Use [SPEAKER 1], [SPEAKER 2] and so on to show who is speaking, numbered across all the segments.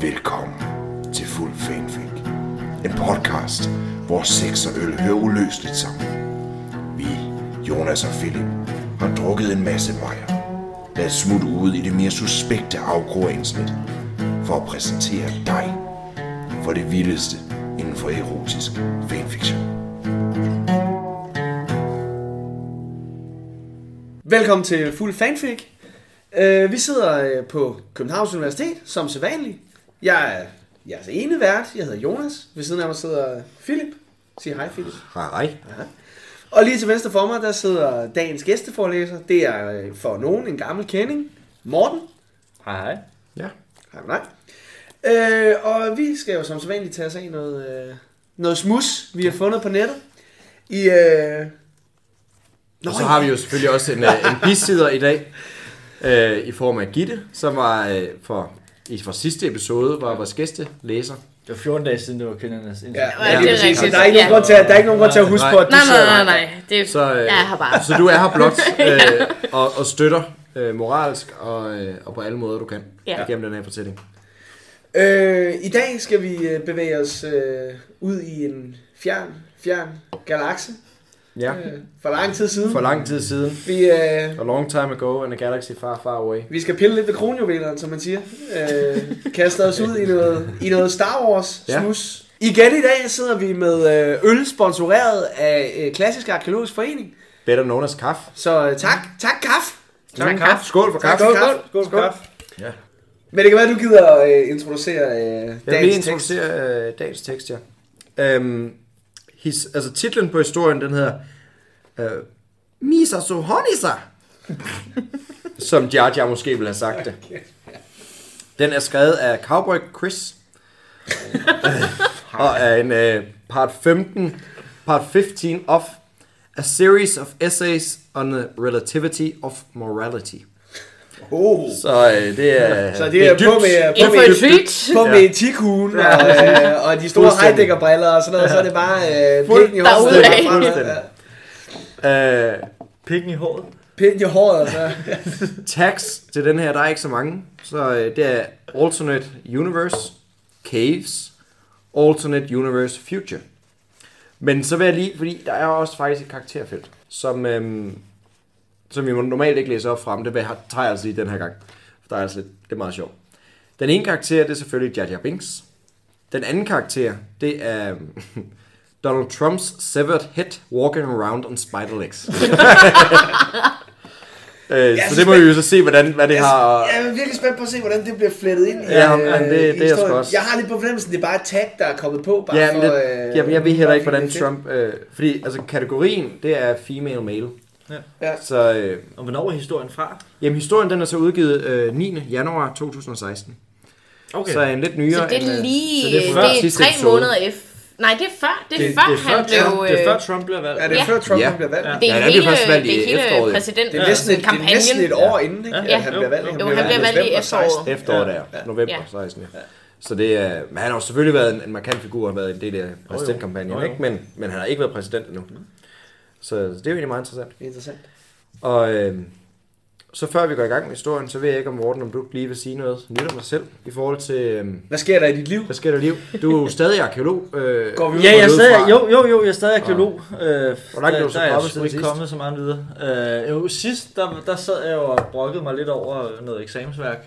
[SPEAKER 1] Velkommen til Fuld Fanfic. En podcast, hvor sex og øl hører uløseligt sammen. Vi, Jonas og Philip, har drukket en masse mejer. Lad os smutte ud i det mere suspekte afgroindsnit for at præsentere dig for det vildeste inden for erotisk fanfiction.
[SPEAKER 2] Velkommen til Fuld Fanfic. Uh, vi sidder øh, på Københavns Universitet, som sædvanligt. Jeg er jeres ene vært. Jeg hedder Jonas. Ved siden af mig sidder Philip. Sig hej, Philip.
[SPEAKER 3] Hej.
[SPEAKER 2] Og lige til venstre for mig, der sidder dagens gæsteforelæser. Det er øh, for nogen en gammel kending. Morten.
[SPEAKER 4] Hej hej.
[SPEAKER 3] Ja.
[SPEAKER 2] Hej med dig. Øh, og vi skal jo som sædvanligt tage os af noget, øh, noget smus, vi har fundet på nettet. I, øh... Nå,
[SPEAKER 3] Og så har vi jo selvfølgelig også en, øh, en bisider i dag, øh, i form af Gitte, som var øh, for, i for sidste episode, var vores gæstelæser.
[SPEAKER 4] Det var 14 dage siden, det var kvindernes
[SPEAKER 2] Ja,
[SPEAKER 4] internet.
[SPEAKER 2] ja,
[SPEAKER 3] det er
[SPEAKER 2] det er præcis.
[SPEAKER 3] rigtigt.
[SPEAKER 2] Der er ikke nogen grund til, at, der er ikke nogen grund til at huske på, at du
[SPEAKER 5] Nej, nej,
[SPEAKER 2] sidder der.
[SPEAKER 5] nej, nej. Det er, så,
[SPEAKER 3] Så, øh,
[SPEAKER 5] jeg er her bare.
[SPEAKER 3] så du er her blot øh, og, og støtter øh, moralsk og, øh, og på alle måder, du kan
[SPEAKER 5] Ja.
[SPEAKER 3] igennem den her fortælling.
[SPEAKER 2] Øh, I dag skal vi øh, bevæge os øh, ud i en fjern, fjern galakse
[SPEAKER 3] Ja,
[SPEAKER 2] øh, for lang tid siden.
[SPEAKER 3] for lang tid siden.
[SPEAKER 2] Vi, øh,
[SPEAKER 3] A long time ago in a galaxy far, far away.
[SPEAKER 2] vi skal pille lidt ved kronjuveleren, som man siger. Øh, kaster os ud i noget, i noget Star Wars
[SPEAKER 3] Ja.
[SPEAKER 2] snus. Igen i dag sidder vi med øh, øl sponsoreret af øh, Klassisk Arkeologisk Forening.
[SPEAKER 3] Better known as kaffe.
[SPEAKER 2] Så øh, tak, tak kaffe.
[SPEAKER 5] Mm,
[SPEAKER 3] Tak, kaffe. Skål for
[SPEAKER 2] Tak,
[SPEAKER 3] kaffe.
[SPEAKER 2] skål, skål.
[SPEAKER 4] Skål for kaffe.
[SPEAKER 2] Men det kan være, du gider øh, introducere øh,
[SPEAKER 3] Jeg vil
[SPEAKER 2] dagens tekst.
[SPEAKER 3] introducere øh, dagens tekst, ja. Øhm, his, altså titlen på historien, den hedder øh, Misa so honisa, som Jar Jar måske ville have sagt det. Den er skrevet af Cowboy Chris, og er en øh, part 15, part 15 of A Series of Essays on the Relativity of Morality.
[SPEAKER 2] Oh.
[SPEAKER 3] Så øh, det er...
[SPEAKER 2] Så det er på med,
[SPEAKER 5] In
[SPEAKER 2] på
[SPEAKER 5] for
[SPEAKER 2] med
[SPEAKER 5] a treat.
[SPEAKER 2] på
[SPEAKER 3] Ja.
[SPEAKER 2] med etikhuen og, øh, og de store
[SPEAKER 3] Fuldstændig.
[SPEAKER 2] heidækkerbriller og sådan noget, så er det bare øh,
[SPEAKER 3] Fuld-
[SPEAKER 2] pinden i håret.
[SPEAKER 5] Derudad.
[SPEAKER 2] og frem-
[SPEAKER 3] Fuldstændig.
[SPEAKER 2] ja,
[SPEAKER 3] med... Øh,
[SPEAKER 4] Pikken i håret.
[SPEAKER 2] Pinden i håret, og så.
[SPEAKER 3] Tags til den her, der er ikke så mange. Så øh, det er Alternate Universe, Caves, Alternate Universe Future. Men så vil jeg lige, fordi der er også faktisk et karakterfelt, som, øhm, som vi normalt ikke læser op frem. Det vil- tager jeg altså lige den her gang. Der er altså lidt, det er meget sjovt. Den ene karakter, det er selvfølgelig Jar Jar Binks. Den anden karakter, det er øhm, Donald Trumps severed head walking around on spider legs. øh, så det må vi jo så se, hvordan, hvad det
[SPEAKER 2] Altså,
[SPEAKER 3] har...
[SPEAKER 2] Jeg er virkelig spændt på at se, hvordan det bliver flettet ind i,
[SPEAKER 3] Ja, men det-
[SPEAKER 2] i
[SPEAKER 3] det er jeg sgu
[SPEAKER 2] historien.
[SPEAKER 3] også.
[SPEAKER 2] Jeg har lidt på fornemmelsen, det er bare et tag, der er kommet på. Bare
[SPEAKER 3] Ja, men
[SPEAKER 2] for,
[SPEAKER 3] det,
[SPEAKER 2] øh,
[SPEAKER 3] jeg, jeg ved
[SPEAKER 2] for
[SPEAKER 3] heller
[SPEAKER 2] at
[SPEAKER 3] ikke, hvordan
[SPEAKER 2] finde effekt.
[SPEAKER 3] Trump... Øh, fordi altså, kategorien, det er female male.
[SPEAKER 4] Ja.
[SPEAKER 2] Ja.
[SPEAKER 3] Så øh,
[SPEAKER 4] Og hvornår er historien fra?
[SPEAKER 3] jamen, historien den er så udgivet øh, 9. januar 2016. Okay. Så er en lidt nyere...
[SPEAKER 5] Så det
[SPEAKER 3] end,
[SPEAKER 5] er
[SPEAKER 3] øh,
[SPEAKER 5] lige,
[SPEAKER 3] så
[SPEAKER 5] det er,
[SPEAKER 3] før
[SPEAKER 5] det er
[SPEAKER 3] sidste
[SPEAKER 5] tre
[SPEAKER 3] episode.
[SPEAKER 5] måneder efter. Nej, det er før, det er
[SPEAKER 3] Det-
[SPEAKER 5] før
[SPEAKER 3] det er
[SPEAKER 5] han
[SPEAKER 3] før-
[SPEAKER 5] blev...
[SPEAKER 4] Ja, det er
[SPEAKER 5] øh,
[SPEAKER 4] før Trump bliver valgt.
[SPEAKER 2] Ja, det er
[SPEAKER 5] Ja.
[SPEAKER 2] før Trump
[SPEAKER 3] Ja.
[SPEAKER 2] han bliver valgt.
[SPEAKER 4] Ja.
[SPEAKER 5] det er
[SPEAKER 3] Ja, der
[SPEAKER 5] hele,
[SPEAKER 3] bliver først valgt i
[SPEAKER 5] det er
[SPEAKER 3] efteråret,
[SPEAKER 5] hele
[SPEAKER 3] jo.
[SPEAKER 5] præsident
[SPEAKER 2] Det er næsten, et, det er næsten
[SPEAKER 5] kampagnen.
[SPEAKER 2] et år inden, ikke?
[SPEAKER 4] Ja.
[SPEAKER 2] At han bliver valgt.
[SPEAKER 4] Jo,
[SPEAKER 5] Jo, han bliver valgt i
[SPEAKER 2] november 16.
[SPEAKER 5] efteråret.
[SPEAKER 3] Efteråret
[SPEAKER 4] Ja.
[SPEAKER 3] ja. der, november
[SPEAKER 5] Ja.
[SPEAKER 3] 16. Ja. Så det er, men han har jo selvfølgelig været en, en markant figur, han har været en del af præsidentkampagnen,
[SPEAKER 4] Jo, Mm.
[SPEAKER 3] oh,
[SPEAKER 4] jo.
[SPEAKER 3] ikke? Men, men han har ikke været præsident endnu. Så det er jo egentlig meget interessant.
[SPEAKER 2] Det er Interessant.
[SPEAKER 3] Og øh, så før vi går i gang med historien, så ved jeg ikke om Morten, om du lige vil sige noget nyt om dig selv, i forhold til, øh,
[SPEAKER 2] Hvad sker der i dit liv?
[SPEAKER 3] hvad sker der liv? Du er jo stadig arkeolog. Øh,
[SPEAKER 2] Går vi ud
[SPEAKER 4] Ja,
[SPEAKER 2] på
[SPEAKER 4] jeg er
[SPEAKER 2] noget
[SPEAKER 4] stadig,
[SPEAKER 2] fra?
[SPEAKER 4] jo, jo, jo, jeg er stadig arkeolog. Øh,
[SPEAKER 3] Hvor langt er
[SPEAKER 4] der,
[SPEAKER 3] du
[SPEAKER 4] der
[SPEAKER 3] så
[SPEAKER 4] er jeg
[SPEAKER 3] kommet
[SPEAKER 4] sgu
[SPEAKER 3] siden
[SPEAKER 4] ikke
[SPEAKER 3] sidst?
[SPEAKER 4] kommet så meget videre. Øh, jo, sidst, der, der sad jeg jo og brokkede mig lidt over noget eksamensværk.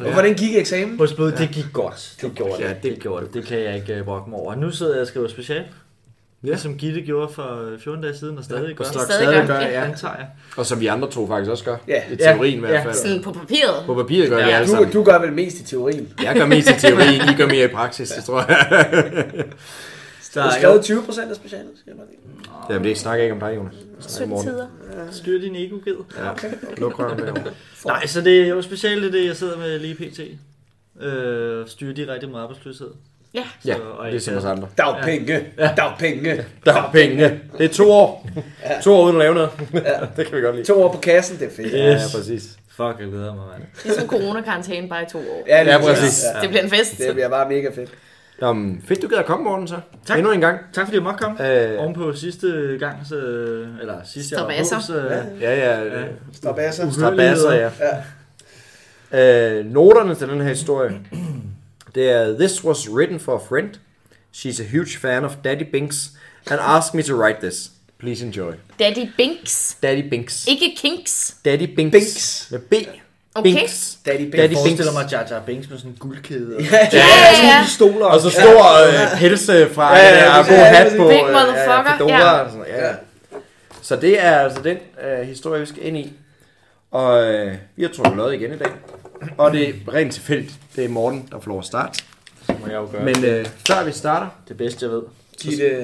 [SPEAKER 2] Og hvordan gik eksamen?
[SPEAKER 4] Hos både, det gik godt. Det gjorde
[SPEAKER 3] Ja,
[SPEAKER 4] det. Det gjorde det. Det kan jeg ikke øh, brokke mig over. Nu sidder jeg og skriver special.
[SPEAKER 3] Ja.
[SPEAKER 4] Ja. Som Gitte gjorde for øh, 14 dage siden og stadig
[SPEAKER 3] og
[SPEAKER 4] gør.
[SPEAKER 3] stadig,
[SPEAKER 5] Stadig
[SPEAKER 3] stadig gør,
[SPEAKER 5] gør,
[SPEAKER 3] ja.
[SPEAKER 4] Antager jeg.
[SPEAKER 3] Og som vi andre to faktisk også gør.
[SPEAKER 2] Ja.
[SPEAKER 3] I
[SPEAKER 4] Ja.
[SPEAKER 3] teorien i hvert
[SPEAKER 4] Ja.
[SPEAKER 3] fald.
[SPEAKER 5] Sådan på papiret.
[SPEAKER 3] På papiret gør
[SPEAKER 4] Ja.
[SPEAKER 3] vi alle
[SPEAKER 2] Du,
[SPEAKER 3] sammen.
[SPEAKER 2] du gør vel mest i teorien.
[SPEAKER 3] Jeg gør mest i teorien, I gør mere i praksis, det tror jeg.
[SPEAKER 2] Du
[SPEAKER 4] Så,
[SPEAKER 2] har skrevet 20 procent af specialet, siger man.
[SPEAKER 3] Jamen det snakker jeg ikke om dig, Jonas. Jeg snakker om Morten.
[SPEAKER 5] Tider.
[SPEAKER 4] Styr din ego-ged.
[SPEAKER 3] Luk røven derovre.
[SPEAKER 4] Nej, så det er jo specielt det, er det, jeg sidder med lige pt. Øh, styrer de rigtig meget arbejdsløshed.
[SPEAKER 5] Ja.
[SPEAKER 3] Ja,
[SPEAKER 4] Så- og
[SPEAKER 3] ligesom os
[SPEAKER 4] jeg-
[SPEAKER 3] andre.
[SPEAKER 2] Dagpenge. Dagpenge.
[SPEAKER 3] Dagpenge. Det er to år. To år uden at lave noget. Det kan vi godt lide.
[SPEAKER 2] To år på kassen, det er fedt.
[SPEAKER 3] Ja, ja, præcis.
[SPEAKER 4] Fuck, jeg glæder mig, mand.
[SPEAKER 5] Det er sådan coronakarantæne bare i to år.
[SPEAKER 2] Ja, lige
[SPEAKER 3] Ja, præcis.
[SPEAKER 5] Det bliver en fest.
[SPEAKER 2] Det bliver bare mega fedt.
[SPEAKER 3] Nå, men fedt, du gider at komme, Morten, så.
[SPEAKER 4] Tak.
[SPEAKER 3] Endnu en gang.
[SPEAKER 4] Tak fordi jeg måtte komme.
[SPEAKER 3] Øh,
[SPEAKER 4] Øh, Ovenpå sidste gang, så, eller sidste
[SPEAKER 5] Stop
[SPEAKER 4] jeg var
[SPEAKER 5] af sig.
[SPEAKER 4] på, så ja.
[SPEAKER 3] ja, ja. øh,
[SPEAKER 2] Stop af så.
[SPEAKER 3] Strabasser, ja. Øh, noterne til den her historie. Det er This was written for a friend. She's a huge fan of Daddy Binks and asked me to write this. Please enjoy.
[SPEAKER 5] Daddy Binks.
[SPEAKER 3] Daddy Binks.
[SPEAKER 5] Ikke Kinks.
[SPEAKER 3] Daddy Binks.
[SPEAKER 2] Binks.
[SPEAKER 3] Med B.
[SPEAKER 5] Okay.
[SPEAKER 3] Binks.
[SPEAKER 2] Daddy Binks.
[SPEAKER 4] Jeg
[SPEAKER 3] Daddy
[SPEAKER 4] forestiller
[SPEAKER 3] Binks.
[SPEAKER 4] mig Jar Jar Binks med sådan en guldkæde. og-
[SPEAKER 2] Ja, ja, ja. Sådan nogle pistoler.
[SPEAKER 3] Og så stor øh, pelse fra
[SPEAKER 2] Ja,
[SPEAKER 3] ja,
[SPEAKER 2] ja,
[SPEAKER 3] ja,
[SPEAKER 2] præcis.
[SPEAKER 3] god
[SPEAKER 2] Ja,
[SPEAKER 3] hat
[SPEAKER 2] præcis.
[SPEAKER 3] på.
[SPEAKER 5] Big
[SPEAKER 3] øh,
[SPEAKER 5] motherfucker,
[SPEAKER 3] fedora
[SPEAKER 5] ja.
[SPEAKER 3] og sådan noget, ja. Så det er altså den øh, historie, vi skal ind i. Og øh, vi har trukket noget igen i dag. Og det er rent tilfældigt. Det er Morten, der får lov at starte.
[SPEAKER 4] Det må jeg jo gøre. Men
[SPEAKER 3] Men øh, før vi starter...
[SPEAKER 4] det bedste, jeg ved.
[SPEAKER 2] Dit øh,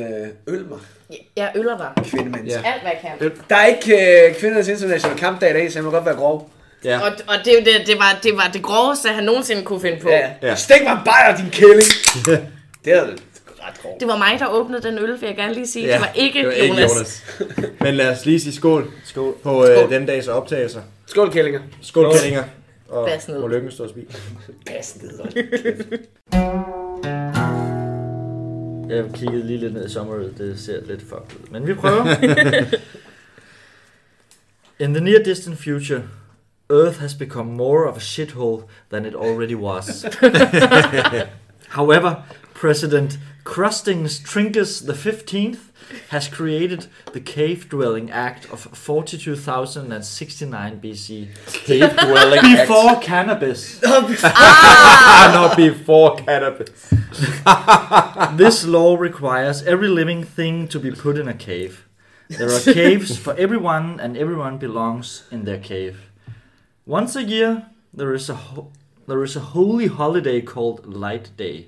[SPEAKER 2] øl mig,
[SPEAKER 5] Jeg- Jeg øller dig.
[SPEAKER 2] kvindemands.
[SPEAKER 3] Ja.
[SPEAKER 5] Alt hvad jeg kan.
[SPEAKER 2] Der er ikke øh, kvindernes internationale kampdag i dag, så jeg må godt være grov.
[SPEAKER 3] Ja.
[SPEAKER 5] Og, og det, er jo det, det, var, det var det groveste, han nogensinde kunne finde på.
[SPEAKER 2] Ja.
[SPEAKER 3] Ja.
[SPEAKER 2] ja. Stik mig bare, din kælling. det er ret grov.
[SPEAKER 5] Det var mig, der åbnede den øl, vil jeg gerne lige sige.
[SPEAKER 3] Ja,
[SPEAKER 5] det var ikke, Jonas.
[SPEAKER 3] Jonas. Men lad os lige sige skål, skål. på øh,
[SPEAKER 5] Skål.
[SPEAKER 3] den dags optagelser.
[SPEAKER 2] Skål, kællinger.
[SPEAKER 3] Skål, Kællinger. Og
[SPEAKER 5] Bas ned.
[SPEAKER 3] må lykken stå og spise.
[SPEAKER 2] Pas ned.
[SPEAKER 4] Jeg kiggede lige lidt ned i sommerødet. Det ser lidt fucked ud. Men vi prøver. In the near distant future, Earth has become more of a shithole than it already was. However, President Crustings Trinkus the 15th has created the Cave Dwelling Act of 42,069 BC
[SPEAKER 3] Cave dwelling
[SPEAKER 4] before cannabis.
[SPEAKER 3] Ah, not before cannabis.
[SPEAKER 4] This law requires every living thing to be put in a cave. There are caves for everyone, and everyone belongs in their cave. Once a year, there is a ho- there is a holy holiday called Light Day.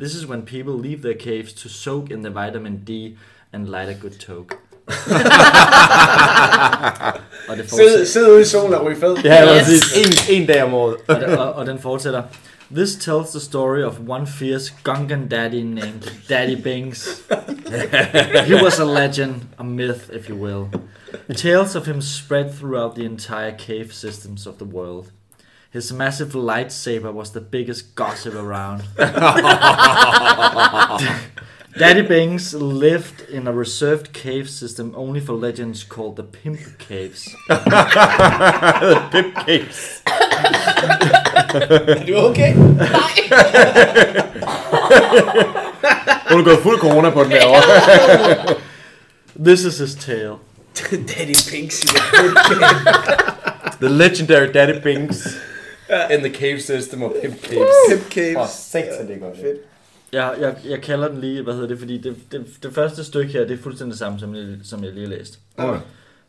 [SPEAKER 4] This is when people leave their caves to soak in the vitamin D and light a good toke. og, det
[SPEAKER 2] Sid,
[SPEAKER 4] fortsætter,
[SPEAKER 2] sid ude i solen og ryg fed.
[SPEAKER 3] Ja, yes.
[SPEAKER 5] Yes.
[SPEAKER 3] præcis. En, en dag om året.
[SPEAKER 4] og, den- og, og den fortsætter. This tells the story of one fierce Gungan daddy named Daddy Bings. he was a legend, a myth, if you will. Tales of him spread throughout the entire cave systems of the world. His massive lightsaber was the biggest gossip around. Daddy Bings lived in a reserved cave system only for legends called the Pimp Caves.
[SPEAKER 3] Pimp caves.
[SPEAKER 2] Er du okay?
[SPEAKER 5] Nej,
[SPEAKER 3] Hun har gået fuld corona på den der år.
[SPEAKER 4] This is his tale.
[SPEAKER 2] Daddy Pink siger.
[SPEAKER 3] The legendary Daddy Binks in the cave system of pimp caves.
[SPEAKER 2] Pimp
[SPEAKER 3] For
[SPEAKER 2] Caves.
[SPEAKER 3] satan, det er godt.
[SPEAKER 2] Fedt.
[SPEAKER 4] Jeg, jeg, jeg kalder den lige, hvad hedder det, fordi det, det, det første stykke her, det er fuldstændig det samme, som jeg, som jeg lige har læst.
[SPEAKER 3] Okay.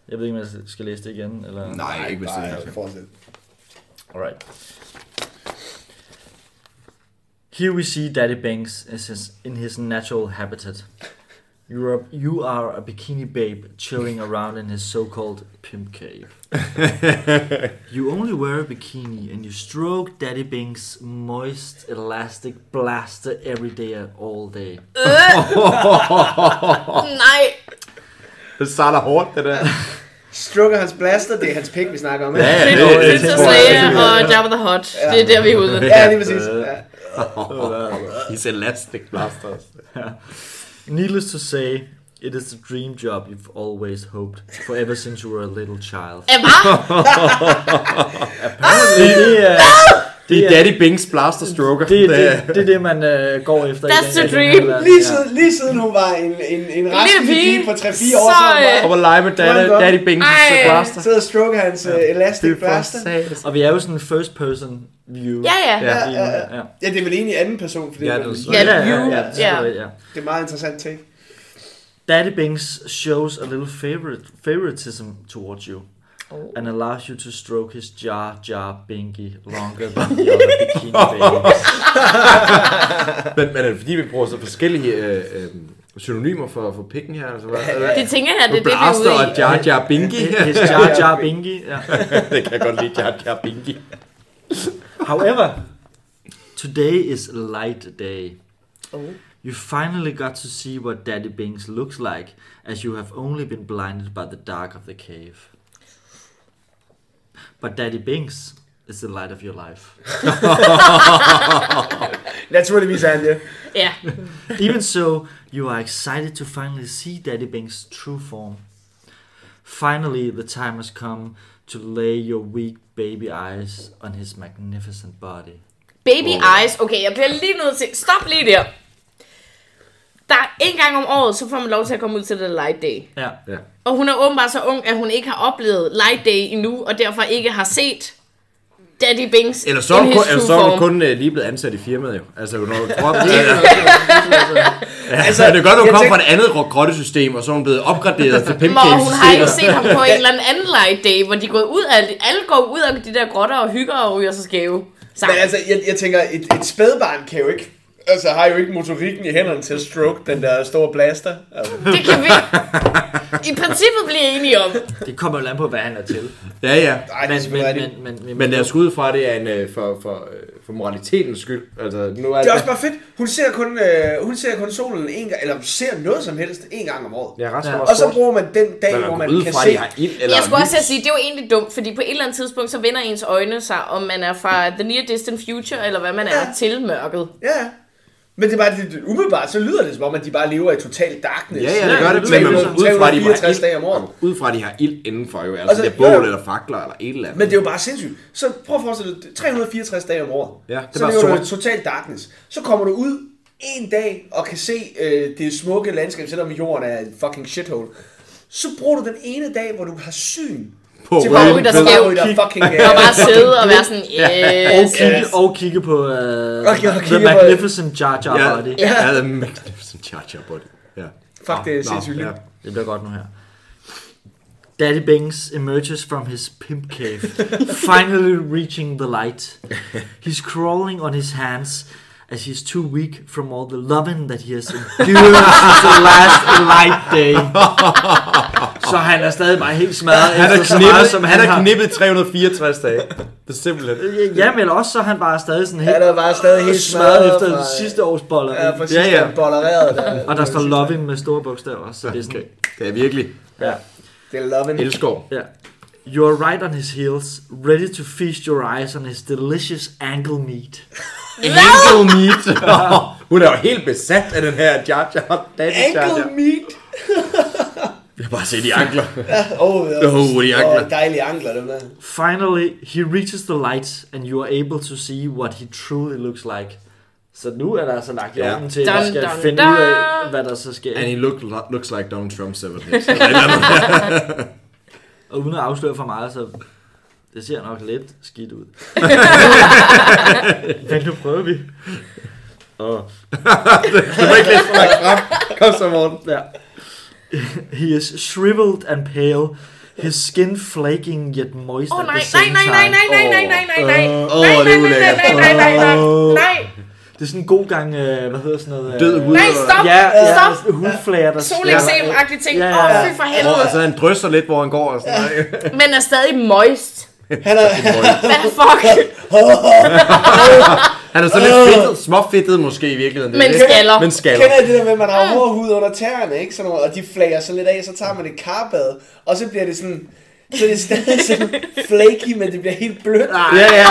[SPEAKER 4] Jeg ved ikke, om jeg skal læse det igen, eller...
[SPEAKER 3] Nej, ikke hvis det er.
[SPEAKER 2] fortsæt.
[SPEAKER 4] Alright. Here we see Daddy Banks is his, in his natural habitat. You are, you are a bikini babe chilling around in his so called pimp cave. you only wear a bikini and you stroke Daddy Banks' moist, elastic blaster every day and all day.
[SPEAKER 5] nej.
[SPEAKER 3] Det starter hårdt, det der.
[SPEAKER 2] Strucker hans blaster, det er hans pik, vi snakker om.
[SPEAKER 3] Ja,
[SPEAKER 5] Prin-
[SPEAKER 3] det er-
[SPEAKER 5] Princess
[SPEAKER 3] det er-
[SPEAKER 5] Leia og Jabba the Hutt. Det er der, vi er ude.
[SPEAKER 2] ja lige præcis.
[SPEAKER 3] Øh.
[SPEAKER 2] Ja.
[SPEAKER 3] He's elastic blasters.
[SPEAKER 4] Needless to say, it is the dream job you've always hoped for ever since you were a little child.
[SPEAKER 5] Ja, Hvad?
[SPEAKER 4] Det er-
[SPEAKER 3] Det er Daddy Binks blaster stroker.
[SPEAKER 4] Det, det, det er det, man øh, går efter. i
[SPEAKER 5] That's
[SPEAKER 4] den
[SPEAKER 5] the
[SPEAKER 4] her- den
[SPEAKER 5] dream.
[SPEAKER 4] her verden,
[SPEAKER 2] Lige,
[SPEAKER 4] ja.
[SPEAKER 2] siden, lige siden hun var en, en, en
[SPEAKER 5] Lille
[SPEAKER 2] rask
[SPEAKER 5] pige,
[SPEAKER 2] pige på 3-4 år,
[SPEAKER 5] så,
[SPEAKER 2] så hun
[SPEAKER 5] øh,
[SPEAKER 3] Op og lege med Daddy,
[SPEAKER 2] Drøm om.
[SPEAKER 3] Daddy Binks
[SPEAKER 5] Ej.
[SPEAKER 3] blaster.
[SPEAKER 2] bare sidder og stroker hans ja. elastic blaster.
[SPEAKER 3] satan.
[SPEAKER 4] Og vi er jo sådan en first person view.
[SPEAKER 5] Ja, ja.
[SPEAKER 3] Ja.
[SPEAKER 4] Lige nu, ja. ja.
[SPEAKER 2] Ja, det er vel egentlig anden person, fordi
[SPEAKER 3] Ja,
[SPEAKER 2] ja,
[SPEAKER 3] det er
[SPEAKER 2] det,
[SPEAKER 3] så-
[SPEAKER 2] er,
[SPEAKER 5] Ja, det er
[SPEAKER 4] ja,
[SPEAKER 5] you.
[SPEAKER 4] ja, selvfølgelig, ja.
[SPEAKER 2] det er meget interessant ting.
[SPEAKER 4] Daddy Bings shows a little favorite, favoritism towards you
[SPEAKER 5] Oh.
[SPEAKER 4] and allows you to stroke his jar jar binky longer than the other bikini babies.
[SPEAKER 3] Men, men er det fordi, vi bruger så forskellige øh, øh, synonymer for, for pikken her? Altså, hvad,
[SPEAKER 5] Det tænker jeg, det er det, vi er
[SPEAKER 3] blaster
[SPEAKER 5] ude
[SPEAKER 3] og
[SPEAKER 5] i.
[SPEAKER 3] Jar Jar Binky.
[SPEAKER 4] His jar jar binky. Ja.
[SPEAKER 3] det kan jeg godt lide, Jar Jar Binky.
[SPEAKER 4] However, today is light day.
[SPEAKER 5] Oh.
[SPEAKER 4] You finally got to see what Daddy Bings looks like, as you have only been blinded by the dark of the cave. But Daddy Bings is the light of your life.
[SPEAKER 2] Naturligvis er han det.
[SPEAKER 5] Ja.
[SPEAKER 4] Even so, you are excited to finally see Daddy Bing's true form. Finally, the time has come to lay your weak baby eyes on his magnificent body.
[SPEAKER 5] Baby eyes. Okay, jeg bliver lige nødt til... Stop lige der. Der er en gang om året, så får man lov til at komme ud til The Light Day.
[SPEAKER 4] Ja.
[SPEAKER 3] Ja.
[SPEAKER 5] Og hun er åbenbart så ung, at hun ikke har oplevet Light Day endnu, og derfor ikke har set Daddy Bings
[SPEAKER 3] Eller så er du
[SPEAKER 5] in his
[SPEAKER 3] kun, eller
[SPEAKER 5] true
[SPEAKER 3] så er du
[SPEAKER 5] form.
[SPEAKER 3] kun øh, lige blevet ansat i firmaet jo. Altså, når du tror, det, ja, altså, det er godt, du
[SPEAKER 2] jeg
[SPEAKER 3] kom
[SPEAKER 2] tænker-
[SPEAKER 3] fra et andet grottesystem, og så er hun blevet opgraderet til
[SPEAKER 5] Hvor hun har ikke
[SPEAKER 3] pimpcake-systemet.
[SPEAKER 5] set ham på en eller anden anden light day, hvor de går ud af, alle går ud af de der grotter og hygger og ryger sig skæve.
[SPEAKER 2] Men
[SPEAKER 5] Sammen.
[SPEAKER 2] altså, jeg, jeg tænker, et, et spædbarn kan jo ikke... Altså, har jo ikke motorikken i hænderne til at stroke den der store blaster. Altså,
[SPEAKER 5] det kan vi i princippet blive enige om.
[SPEAKER 4] Det kommer jo an på, hvad han er til.
[SPEAKER 3] Ja, ja.
[SPEAKER 2] ej, det er
[SPEAKER 4] Men,
[SPEAKER 2] selvfølgelig
[SPEAKER 4] men,
[SPEAKER 2] rigtigt.
[SPEAKER 4] men, men, men,
[SPEAKER 3] Men lad os gå ud fra, det er en, øh, for, for, øh, for moralitetens skyld. Altså, nu er
[SPEAKER 2] Det er også bare fedt. Hun ser kun, øh, hun ser kun solen en gang, eller ser noget som helst en gang om året.
[SPEAKER 3] Ja, resten
[SPEAKER 4] Ja.
[SPEAKER 3] var
[SPEAKER 2] Og så
[SPEAKER 3] sort.
[SPEAKER 2] bruger man den dag,
[SPEAKER 3] Men
[SPEAKER 2] hvor
[SPEAKER 3] man
[SPEAKER 2] man
[SPEAKER 3] går ud
[SPEAKER 2] kan
[SPEAKER 3] fra,
[SPEAKER 2] se...
[SPEAKER 3] at de har ild eller
[SPEAKER 5] Jeg skulle også til at
[SPEAKER 3] lys.
[SPEAKER 5] sige, det er jo egentlig dumt, fordi på et eller andet tidspunkt, så vender ens øjne sig, om man er fra The Near Distant Future, eller hvad man er,
[SPEAKER 2] Ja.
[SPEAKER 5] til mørket.
[SPEAKER 2] Ja, ja. men det er bare lidt umiddelbart, så lyder det som om, at de bare lever i total darkness.
[SPEAKER 3] Ja, ja, det gør det, men man må ud fra, at de har
[SPEAKER 2] 364 dage om året.
[SPEAKER 3] ild, ud fra, at de har ild indenfor, jo.
[SPEAKER 2] Og
[SPEAKER 3] Altså,
[SPEAKER 2] så-
[SPEAKER 3] det er
[SPEAKER 2] jo,
[SPEAKER 3] bål
[SPEAKER 2] jo.
[SPEAKER 3] eller fakler eller et eller andet.
[SPEAKER 2] Men det er jo bare sindssygt. Så prøv at forestille dig, 364 dage om året.
[SPEAKER 3] Ja, det er
[SPEAKER 2] så
[SPEAKER 3] bare
[SPEAKER 2] lever du i
[SPEAKER 3] sort.
[SPEAKER 2] total darkness. Så kommer du ud en dag og kan se øh, det smukke landskab, selvom jorden er en fucking shithole. Så bruger du den ene dag, hvor du har syn
[SPEAKER 3] På
[SPEAKER 2] til
[SPEAKER 5] bare
[SPEAKER 2] bare
[SPEAKER 3] røde
[SPEAKER 5] rytter
[SPEAKER 2] rytter
[SPEAKER 5] skævt.
[SPEAKER 2] fucking... Øh,
[SPEAKER 5] Og bare sidde og være sådan,
[SPEAKER 4] og,
[SPEAKER 5] yes.
[SPEAKER 4] kigge, og kigge på uh,
[SPEAKER 2] Okay, og
[SPEAKER 4] The
[SPEAKER 2] kigge på-
[SPEAKER 4] Magnificent Jar Jar
[SPEAKER 3] Ja,
[SPEAKER 4] Body.
[SPEAKER 3] ja. ja, The Magnificent Jar Jar Body. Ja.
[SPEAKER 2] Fuck, det er sindssygt
[SPEAKER 3] ja.
[SPEAKER 2] liv.
[SPEAKER 4] Det bliver godt nu her. Daddy Banks emerges from his pimp cave, finally reaching the light. He's crawling on his hands as he's too weak from all the loving that he has endured the last light day. Så han er stadig bare helt smadret
[SPEAKER 3] Han er
[SPEAKER 4] efter så
[SPEAKER 3] knippet,
[SPEAKER 4] meget, som
[SPEAKER 3] han
[SPEAKER 4] han,
[SPEAKER 3] er
[SPEAKER 4] har.
[SPEAKER 3] knippet 364 dage. Det er simpelthen.
[SPEAKER 4] Ja, men også så er han bare stadig sådan helt
[SPEAKER 2] Han er bare stadig helt
[SPEAKER 4] smadret
[SPEAKER 2] smadret
[SPEAKER 4] efter
[SPEAKER 2] fra-
[SPEAKER 4] sidste års boller.
[SPEAKER 2] Ja, for sidst
[SPEAKER 3] Ja, ja.
[SPEAKER 2] ja, ja. bollereret. Der,
[SPEAKER 4] og der står loving med store bogstaver, så det er sådan...
[SPEAKER 3] Okay. Det er virkelig.
[SPEAKER 4] Ja.
[SPEAKER 2] Det er loving.
[SPEAKER 3] Elskov.
[SPEAKER 4] Yeah. You're right on his heels, ready to feast your eyes on his delicious ankle meat.
[SPEAKER 3] Ankle meat. Hun er jo helt besat af den her Jar Jar. Daddy Jar Jar.
[SPEAKER 2] Ankle meat.
[SPEAKER 3] Jeg har bare set de ankler.
[SPEAKER 2] Åh, oh,
[SPEAKER 3] Åh, de ankler.
[SPEAKER 2] dejlige ankler, dem der.
[SPEAKER 4] Finally, he reaches the light, and you are able to see what he truly looks like. Så nu er der altså lagt i
[SPEAKER 3] Ja.
[SPEAKER 4] orden til, at
[SPEAKER 5] Dun,
[SPEAKER 4] jeg skal
[SPEAKER 5] dun,
[SPEAKER 4] finde
[SPEAKER 5] dun.
[SPEAKER 4] ud af, hvad der så sker.
[SPEAKER 3] And he look, looks like Donald Trump 17.
[SPEAKER 4] Og uden at afsløre for meget, så det ser nok lidt skidt ud. Men nu prøver vi. Og
[SPEAKER 3] Du må ikke læse for langt frem. Kom så, Morten.
[SPEAKER 4] Yeah. he is shriveled and pale, his skin flaking yet moist
[SPEAKER 5] Åh oh,
[SPEAKER 4] at
[SPEAKER 5] nej,
[SPEAKER 4] the
[SPEAKER 5] nej,
[SPEAKER 4] same
[SPEAKER 5] nej, nej,
[SPEAKER 4] time.
[SPEAKER 5] nej, nej, nej, nej, nej, nej,
[SPEAKER 3] Åh,
[SPEAKER 5] nej,
[SPEAKER 3] det er
[SPEAKER 5] nej, nej,
[SPEAKER 3] ulækkert.
[SPEAKER 5] nej, nej, nej, nej, nej,
[SPEAKER 4] Det er sådan en god gang, øh, hvad hedder sådan noget? Øh,
[SPEAKER 3] Død hud.
[SPEAKER 5] nej, stop,
[SPEAKER 4] Ja, ja,
[SPEAKER 5] stop.
[SPEAKER 4] hudflager, der
[SPEAKER 5] Soleksem-agtig ting.
[SPEAKER 4] Ja,
[SPEAKER 5] Åh,
[SPEAKER 4] ja,
[SPEAKER 5] oh,
[SPEAKER 4] ja.
[SPEAKER 5] fy for
[SPEAKER 3] Og
[SPEAKER 5] helvede.
[SPEAKER 3] altså, han drysser lidt, hvor han går. Og sådan noget.
[SPEAKER 5] Men er stadig moist.
[SPEAKER 2] Han er,
[SPEAKER 5] Hvad fuck?
[SPEAKER 3] Han er sådan lidt fedtet, småfedtet måske i virkeligheden. det er
[SPEAKER 5] Men
[SPEAKER 3] det.
[SPEAKER 5] skaller.
[SPEAKER 3] Men skaller.
[SPEAKER 2] Kender I det der med, at man
[SPEAKER 5] Ah.
[SPEAKER 2] har overhud under tæerne, ikke? Sådan noget, og de flager så lidt af, så tager man et karbad, og så bliver det sådan... Så det er stadig sådan flaky, men det bliver helt blødt.
[SPEAKER 3] Ja, ja.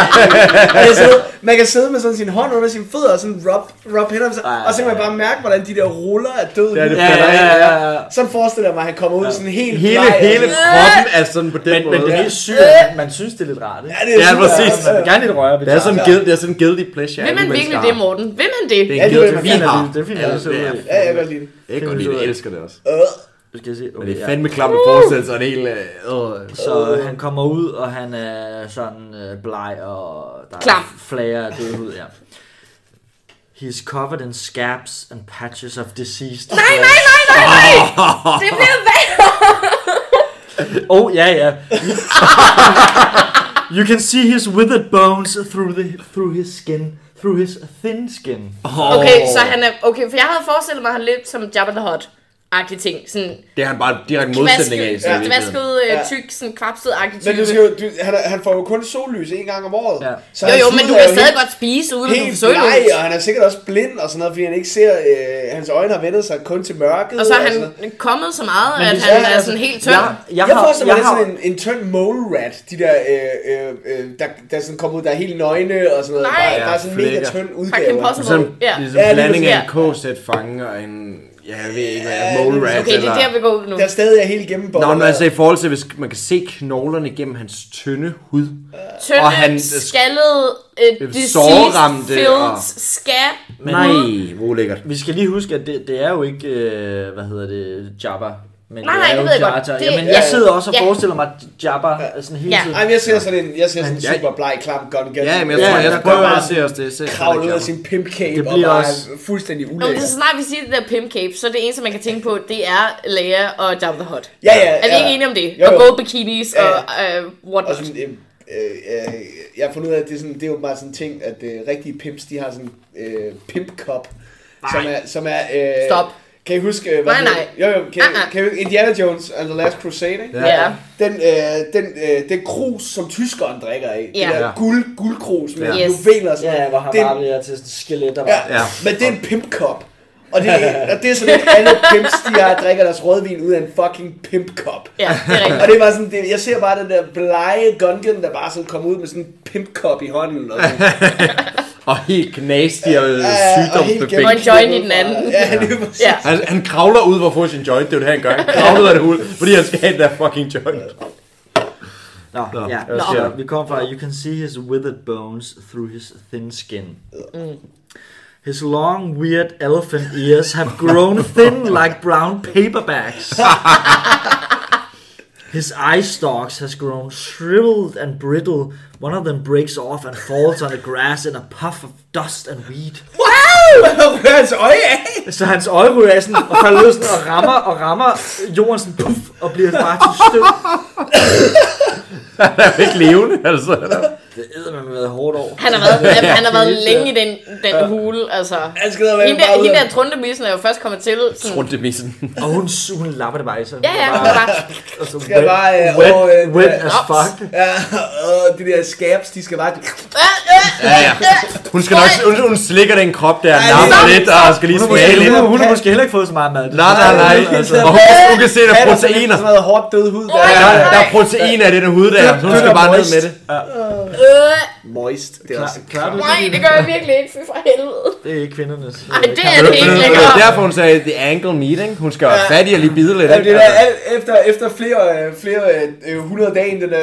[SPEAKER 2] Og jeg sidder, man kan sidde med sådan sin hånd under sin fødder og sådan rub, rub hænderne, så, og så kan man bare mærke, hvordan de der ruller af død.
[SPEAKER 3] Ja, Ah. det
[SPEAKER 4] Ja,
[SPEAKER 3] falder
[SPEAKER 4] ja,
[SPEAKER 3] af.
[SPEAKER 4] ja, ja, ja.
[SPEAKER 2] Sådan forestiller jeg mig, at han kommer ud sådan helt
[SPEAKER 3] Hele,
[SPEAKER 2] bleg og
[SPEAKER 3] hele
[SPEAKER 2] sådan-
[SPEAKER 3] kroppen er sådan på den
[SPEAKER 4] Men,
[SPEAKER 3] måde.
[SPEAKER 4] men det er helt sygt, at man- man synes, det er lidt rart. Ikke?
[SPEAKER 2] Ja, det er
[SPEAKER 3] Ja,
[SPEAKER 2] super.
[SPEAKER 3] præcis.
[SPEAKER 4] Man vil gerne lidt røre ved
[SPEAKER 3] det er sådan en guilt, det er sådan en guilty pleasure.
[SPEAKER 5] Vil
[SPEAKER 3] alle
[SPEAKER 5] man
[SPEAKER 3] mennesker
[SPEAKER 5] virkelig
[SPEAKER 3] har.
[SPEAKER 5] det, Morten? Vil man det?
[SPEAKER 3] Det er
[SPEAKER 2] Ja,
[SPEAKER 3] en
[SPEAKER 2] det vil
[SPEAKER 3] guilty
[SPEAKER 2] man
[SPEAKER 3] vi
[SPEAKER 4] gerne.
[SPEAKER 3] har.
[SPEAKER 4] Det finder
[SPEAKER 3] Ja,
[SPEAKER 4] jeg så
[SPEAKER 3] det er-
[SPEAKER 4] ud af.
[SPEAKER 2] Ja, jeg kan godt lide det.
[SPEAKER 3] Jeg kan godt lide det, jeg elsker det også.
[SPEAKER 2] Øh.
[SPEAKER 4] Skal jeg se?
[SPEAKER 3] Men
[SPEAKER 4] Okay,
[SPEAKER 3] det er
[SPEAKER 4] ja.
[SPEAKER 3] fandme klamt at forestille sig en hel... Øh, øh,
[SPEAKER 4] Så øh, han kommer ud, og han er sådan øh, bleg, og der
[SPEAKER 5] Klam.
[SPEAKER 4] er flager af død hud, ja. He is covered in scabs and patches of diseased
[SPEAKER 5] Nej, nej, nej, nej, nej! Det bliver værre!
[SPEAKER 4] Oh, yeah, yeah. you can see his withered bones through the through his skin, through his thin skin.
[SPEAKER 5] Okay, så han er... Okay, for jeg havde forestillet mig, han lidt som Jabba the Hutt-agtig ting. Sådan
[SPEAKER 3] Det er han bare direkte
[SPEAKER 5] kvasket,
[SPEAKER 3] modsætning af. så i virkeligheden.
[SPEAKER 5] kvasket, øh,
[SPEAKER 2] Ja.
[SPEAKER 5] tyk, sådan kvapset-agtig
[SPEAKER 2] Men du
[SPEAKER 5] type.
[SPEAKER 2] skal jo, du, han, er- han får jo kun sollys en gang om året.
[SPEAKER 4] Ja.
[SPEAKER 2] Så
[SPEAKER 5] Jo,
[SPEAKER 2] hans
[SPEAKER 5] jo,
[SPEAKER 2] hud
[SPEAKER 5] men du
[SPEAKER 2] er
[SPEAKER 5] kan
[SPEAKER 2] jo
[SPEAKER 5] stadig
[SPEAKER 2] helt-
[SPEAKER 5] godt spise, uden at du
[SPEAKER 2] Helt
[SPEAKER 5] forsøger
[SPEAKER 2] bleg, og han er sikkert også blind og sådan noget, fordi han ikke ser, øh, hans øjne har vendt sig kun til mørket.
[SPEAKER 5] Og så er han
[SPEAKER 2] sådan noget.
[SPEAKER 5] kommet så meget,
[SPEAKER 4] Men
[SPEAKER 5] at
[SPEAKER 4] hvis
[SPEAKER 5] han
[SPEAKER 2] jeg-
[SPEAKER 5] er
[SPEAKER 2] altså,
[SPEAKER 5] sådan helt tynd.
[SPEAKER 4] Jeg,
[SPEAKER 2] Jeg,
[SPEAKER 4] jeg,
[SPEAKER 2] jeg
[SPEAKER 4] har,
[SPEAKER 2] forestiller mig
[SPEAKER 4] jeg,
[SPEAKER 2] lidt
[SPEAKER 4] har,
[SPEAKER 2] sådan en, en tynd mole rat, de der, øh, øh, øh, der, der sådan kommer ud, der er helt nøgne og sådan noget.
[SPEAKER 5] Nej.
[SPEAKER 2] Der, der er sådan en mega
[SPEAKER 3] Flækker.
[SPEAKER 2] tynd
[SPEAKER 5] Fucking
[SPEAKER 2] udgave.
[SPEAKER 5] impossible.
[SPEAKER 3] Sådan,
[SPEAKER 5] Ja.
[SPEAKER 3] ligesom
[SPEAKER 2] Ja, lige
[SPEAKER 3] blanding af en
[SPEAKER 5] præcis.
[SPEAKER 3] KZ-fange og en Ja, jeg ved ikke, hvad jeg er. Mole rat
[SPEAKER 5] Okay, det
[SPEAKER 3] eller...
[SPEAKER 5] er der, vi går ud nu.
[SPEAKER 2] Der er stadig er helt gennem
[SPEAKER 3] Nå, men altså i forhold til, hvis man kan se knoglerne gennem hans tynde hud.
[SPEAKER 5] Tynde,
[SPEAKER 3] og han-
[SPEAKER 5] skaldede, øh, disease
[SPEAKER 3] sårramte
[SPEAKER 5] filled,
[SPEAKER 3] og-
[SPEAKER 5] skat.
[SPEAKER 4] Men
[SPEAKER 3] Nej, hvor lækkert.
[SPEAKER 4] vi skal lige huske, at det, det er jo ikke, øh, hvad hedder det, Jabba. Men
[SPEAKER 5] Nej,
[SPEAKER 4] det
[SPEAKER 5] nej,
[SPEAKER 4] er
[SPEAKER 5] det
[SPEAKER 4] jo
[SPEAKER 5] ved jeg godt.
[SPEAKER 4] Jar Jar.
[SPEAKER 5] Det-
[SPEAKER 4] Jamen,
[SPEAKER 5] ja.
[SPEAKER 4] jeg sidder også og
[SPEAKER 5] Ja.
[SPEAKER 4] forestiller mig at Jabba er sådan hele
[SPEAKER 5] Ja.
[SPEAKER 4] tiden.
[SPEAKER 2] Ej, men jeg ser sådan en, jeg ser sådan en
[SPEAKER 3] Ja.
[SPEAKER 2] super bleg, klam gun gun.
[SPEAKER 3] Ja, men jeg tror,
[SPEAKER 4] Ja,
[SPEAKER 3] jeg
[SPEAKER 4] der
[SPEAKER 3] prøver
[SPEAKER 4] går
[SPEAKER 3] at
[SPEAKER 4] bare-
[SPEAKER 3] se os det. Se, os
[SPEAKER 2] kravle ud
[SPEAKER 3] det.
[SPEAKER 2] af sin pimp cape
[SPEAKER 4] Det
[SPEAKER 2] og
[SPEAKER 4] bliver
[SPEAKER 2] bare
[SPEAKER 4] også-
[SPEAKER 2] er fuldstændig
[SPEAKER 5] Nå, men det er
[SPEAKER 2] ulækkert.
[SPEAKER 5] så snart vi siger det der pimp cape, så det eneste, man kan tænke på, det er Leia og Jabba the Hutt.
[SPEAKER 2] Ja, ja,
[SPEAKER 5] Er vi
[SPEAKER 2] ja.
[SPEAKER 5] ikke enige om det?
[SPEAKER 2] Jo,
[SPEAKER 5] Og
[SPEAKER 2] jo.
[SPEAKER 5] både bikinis
[SPEAKER 2] Ja,
[SPEAKER 5] og
[SPEAKER 2] ja.
[SPEAKER 5] øh, what
[SPEAKER 2] Og sådan, øh, øh, øh, jeg har fundet ud af, at det er, sådan, det er jo bare sådan en ting, at øh, rigtige pimps, de har sådan øh, pimp cup, som er... Som er øh,
[SPEAKER 5] Stop.
[SPEAKER 2] Kan I huske... øh, Hvad
[SPEAKER 5] Nej,
[SPEAKER 2] hed-
[SPEAKER 5] nej.
[SPEAKER 2] Jo, jo, kan,
[SPEAKER 5] Ah, ah.
[SPEAKER 2] uh-uh. kan I, Indiana Jones and the Last Crusade, ikke?
[SPEAKER 3] Ja.
[SPEAKER 5] Ja.
[SPEAKER 2] Den, øh, den, øh, den krus, som tyskeren drikker af,
[SPEAKER 5] Ja.
[SPEAKER 2] det der
[SPEAKER 3] Ja.
[SPEAKER 2] guld, guldkrus med
[SPEAKER 5] Ja.
[SPEAKER 2] ja. juveler og sådan
[SPEAKER 4] Ja, ja, hvor han
[SPEAKER 2] det er
[SPEAKER 4] bare
[SPEAKER 2] en,
[SPEAKER 4] bliver til sådan et skelet, der
[SPEAKER 2] ja,
[SPEAKER 4] bare...
[SPEAKER 2] ja.
[SPEAKER 3] Ja.
[SPEAKER 2] Men det er en pimp cup. Og det, er, og det er sådan lidt alle pimps, de har, drikker deres rødvin ud af en fucking pimp cup.
[SPEAKER 5] Ja, det er rigtigt.
[SPEAKER 2] Og det var sådan, det, jeg ser bare den der blege gungan, der bare sådan kom ud med sådan en pimpkop i hånden. Og, sådan.
[SPEAKER 3] Og helt knastig og øh,
[SPEAKER 2] Ja, ja, og helt
[SPEAKER 3] sygdomsbefængt.
[SPEAKER 5] Og en joint i den anden.
[SPEAKER 2] Ja, det er præcis.
[SPEAKER 5] Ja.
[SPEAKER 3] Han, han kravler ud for at få sin joint, det er jo det, han gør. Han kravler ud af det hul, fordi han skal have den der fucking joint.
[SPEAKER 4] Nå,
[SPEAKER 3] Nå,
[SPEAKER 4] ja.
[SPEAKER 3] hvad
[SPEAKER 4] Nå.
[SPEAKER 3] siger
[SPEAKER 4] Så
[SPEAKER 3] du?
[SPEAKER 4] vi kommer fra, you can see his withered bones through his thin skin.
[SPEAKER 2] Mm.
[SPEAKER 4] His long, weird elephant ears have grown thin like brown paperbacks. His eye stalks has grown shriveled and brittle. One of them breaks off and falls on the grass in a puff of dust and weed.
[SPEAKER 2] Og rører hans øje af.
[SPEAKER 4] Så hans øje ryger af sådan, og falder ud sådan, og rammer, og rammer jorden sådan, puff, og bliver bare til støv.
[SPEAKER 3] Han er jo ikke levende, altså.
[SPEAKER 4] Det har man været hårdt over.
[SPEAKER 5] Han har været, han, han har været længe i den, den hule, altså.
[SPEAKER 2] Han skal være
[SPEAKER 5] Hende
[SPEAKER 2] bare
[SPEAKER 5] der,
[SPEAKER 2] ud
[SPEAKER 5] hende
[SPEAKER 2] af.
[SPEAKER 5] der trundemissen er jo først kommet til. Sådan,
[SPEAKER 3] Rundt i missen.
[SPEAKER 4] Og hun, hun lapper det bare i sig.
[SPEAKER 5] ja, ja, hun er bare,
[SPEAKER 4] Og så
[SPEAKER 2] Skal bare, øh,
[SPEAKER 4] wet,
[SPEAKER 2] og, øh,
[SPEAKER 4] wet
[SPEAKER 2] øh,
[SPEAKER 4] as
[SPEAKER 5] ops.
[SPEAKER 4] fuck.
[SPEAKER 2] Ja, og øh, de der skabs, de skal bare...
[SPEAKER 5] øh, øh,
[SPEAKER 3] Ja, ja. Hun skal nok, hun, hun slikker den krop der, napper lidt, og skal lige
[SPEAKER 4] Hun,
[SPEAKER 3] smage lidt.
[SPEAKER 4] hun, hun har måske heller ikke fået så meget mad.
[SPEAKER 3] Nej, nej, nej.
[SPEAKER 4] Altså,
[SPEAKER 3] Og hun, hun kan se, der er
[SPEAKER 2] Patter sådan lidt
[SPEAKER 3] proteiner.
[SPEAKER 2] Sådan noget hårdt død hud. Der,
[SPEAKER 3] Der,
[SPEAKER 2] er
[SPEAKER 3] der er proteiner i den hud der, så hun skal bare ned med det.
[SPEAKER 5] øh.
[SPEAKER 2] moist. Det er
[SPEAKER 4] klar,
[SPEAKER 2] også
[SPEAKER 4] klar, det,
[SPEAKER 5] Nej, det gør jeg virkelig ikke, fy for helvede.
[SPEAKER 4] det er ikke kvindernes.
[SPEAKER 5] Ej, det er
[SPEAKER 3] Det
[SPEAKER 5] det ikke
[SPEAKER 3] var
[SPEAKER 5] længere.
[SPEAKER 3] derfor, hun sagde, the ankle meeting. Hun skal være fattig og lige bide lidt.
[SPEAKER 2] Ja,
[SPEAKER 3] ikke? Altså.
[SPEAKER 2] det
[SPEAKER 4] Altså-
[SPEAKER 2] der, alt, efter, efter flere, øh, flere øh, øh, 100 dage i den der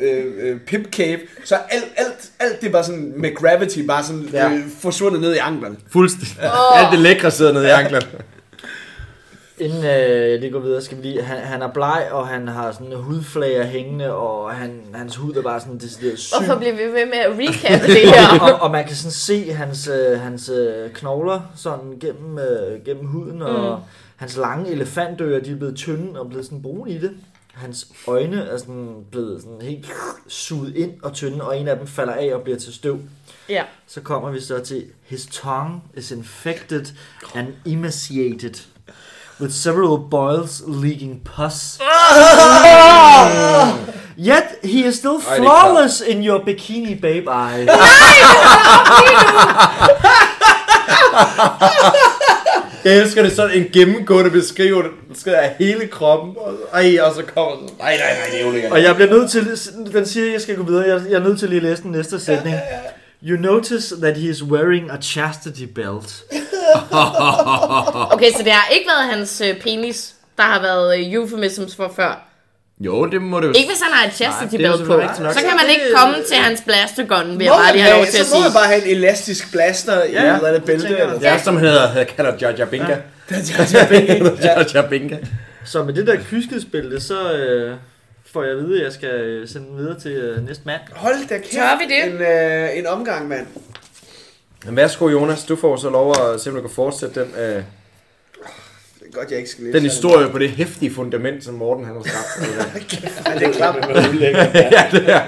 [SPEAKER 2] øh, øh, øh, pimp cape, så er alt, alt, alt det er bare sådan med gravity, bare sådan
[SPEAKER 3] Ja.
[SPEAKER 2] øh, forsvundet ned i anklerne.
[SPEAKER 3] Fuldstændig. Alt det lækre sidder nede i anklen.
[SPEAKER 4] Inden øh, jeg lige går videre, skal vi lige... Han, han er bleg, og han har sådan hudflager hængende, og han, hans hud er bare sådan decideret syg.
[SPEAKER 5] Hvorfor bliver vi ved med at recap det her?
[SPEAKER 4] og, og man kan sådan se hans, øh, hans øh, knogler sådan gennem, øh, gennem huden, og mm. hans lange elefantører, de er blevet tynde og blevet sådan brune i det. Hans øjne er sådan blevet sådan helt suget ind og tynde, og en af dem falder af og bliver til støv.
[SPEAKER 5] Ja.
[SPEAKER 4] Så kommer vi så til, his tongue is infected and emaciated with several boils leaking pus. Yet he is still
[SPEAKER 3] Ah! Ej, det er klart.
[SPEAKER 4] flawless in your bikini babe eye.
[SPEAKER 3] Jeg elsker det sådan en gennemgående beskrivelse af hele kroppen. Og, ej, og så kommer sådan, nej, nej, nej, det er ulækkert.
[SPEAKER 4] Og jeg bliver nødt til, den siger, at jeg skal gå videre, jeg, jeg er nødt til lige at læse den næste sætning. You notice that he is wearing a chastity belt.
[SPEAKER 5] Okay, så det har ikke været hans øh, penis, der har været øh, euphemisms for før.
[SPEAKER 3] Jo, det må det jo.
[SPEAKER 5] Ikke hvis han har et chastity
[SPEAKER 3] Nej, det er
[SPEAKER 5] belt på.
[SPEAKER 3] selvfølgelig rigtigt nok.
[SPEAKER 5] Så kan man ikke komme til hans blastergun, vil
[SPEAKER 2] Må
[SPEAKER 5] jeg bare
[SPEAKER 2] man
[SPEAKER 5] lige have lov
[SPEAKER 2] have-
[SPEAKER 5] til at
[SPEAKER 2] så må
[SPEAKER 5] sige.
[SPEAKER 2] man bare have en elastisk blaster i
[SPEAKER 4] Ja,
[SPEAKER 2] ja, eller andet
[SPEAKER 4] det
[SPEAKER 2] bælte.
[SPEAKER 4] tænker jeg
[SPEAKER 2] Eller.
[SPEAKER 4] også.
[SPEAKER 3] Ja, som han hedder, han kalder Jaja Binka. Jaja Binka.
[SPEAKER 4] Så med det der kyskhedsbælte, så øh, får jeg at vide, at jeg skal øh, sende den videre til øh, næste mand.
[SPEAKER 2] Hold da kæft.
[SPEAKER 5] Tør vi det?
[SPEAKER 2] En, øh, en omgang, mand.
[SPEAKER 3] Men Værsgo, Jonas, du får så lov at simpelthen kunne fortsætte den, øh,
[SPEAKER 2] Det er godt, jeg ikke skal læse.
[SPEAKER 3] den historie på det hæftige fundament, som Morten han har skabt.
[SPEAKER 2] Ja, det er klart.
[SPEAKER 3] ja, det er.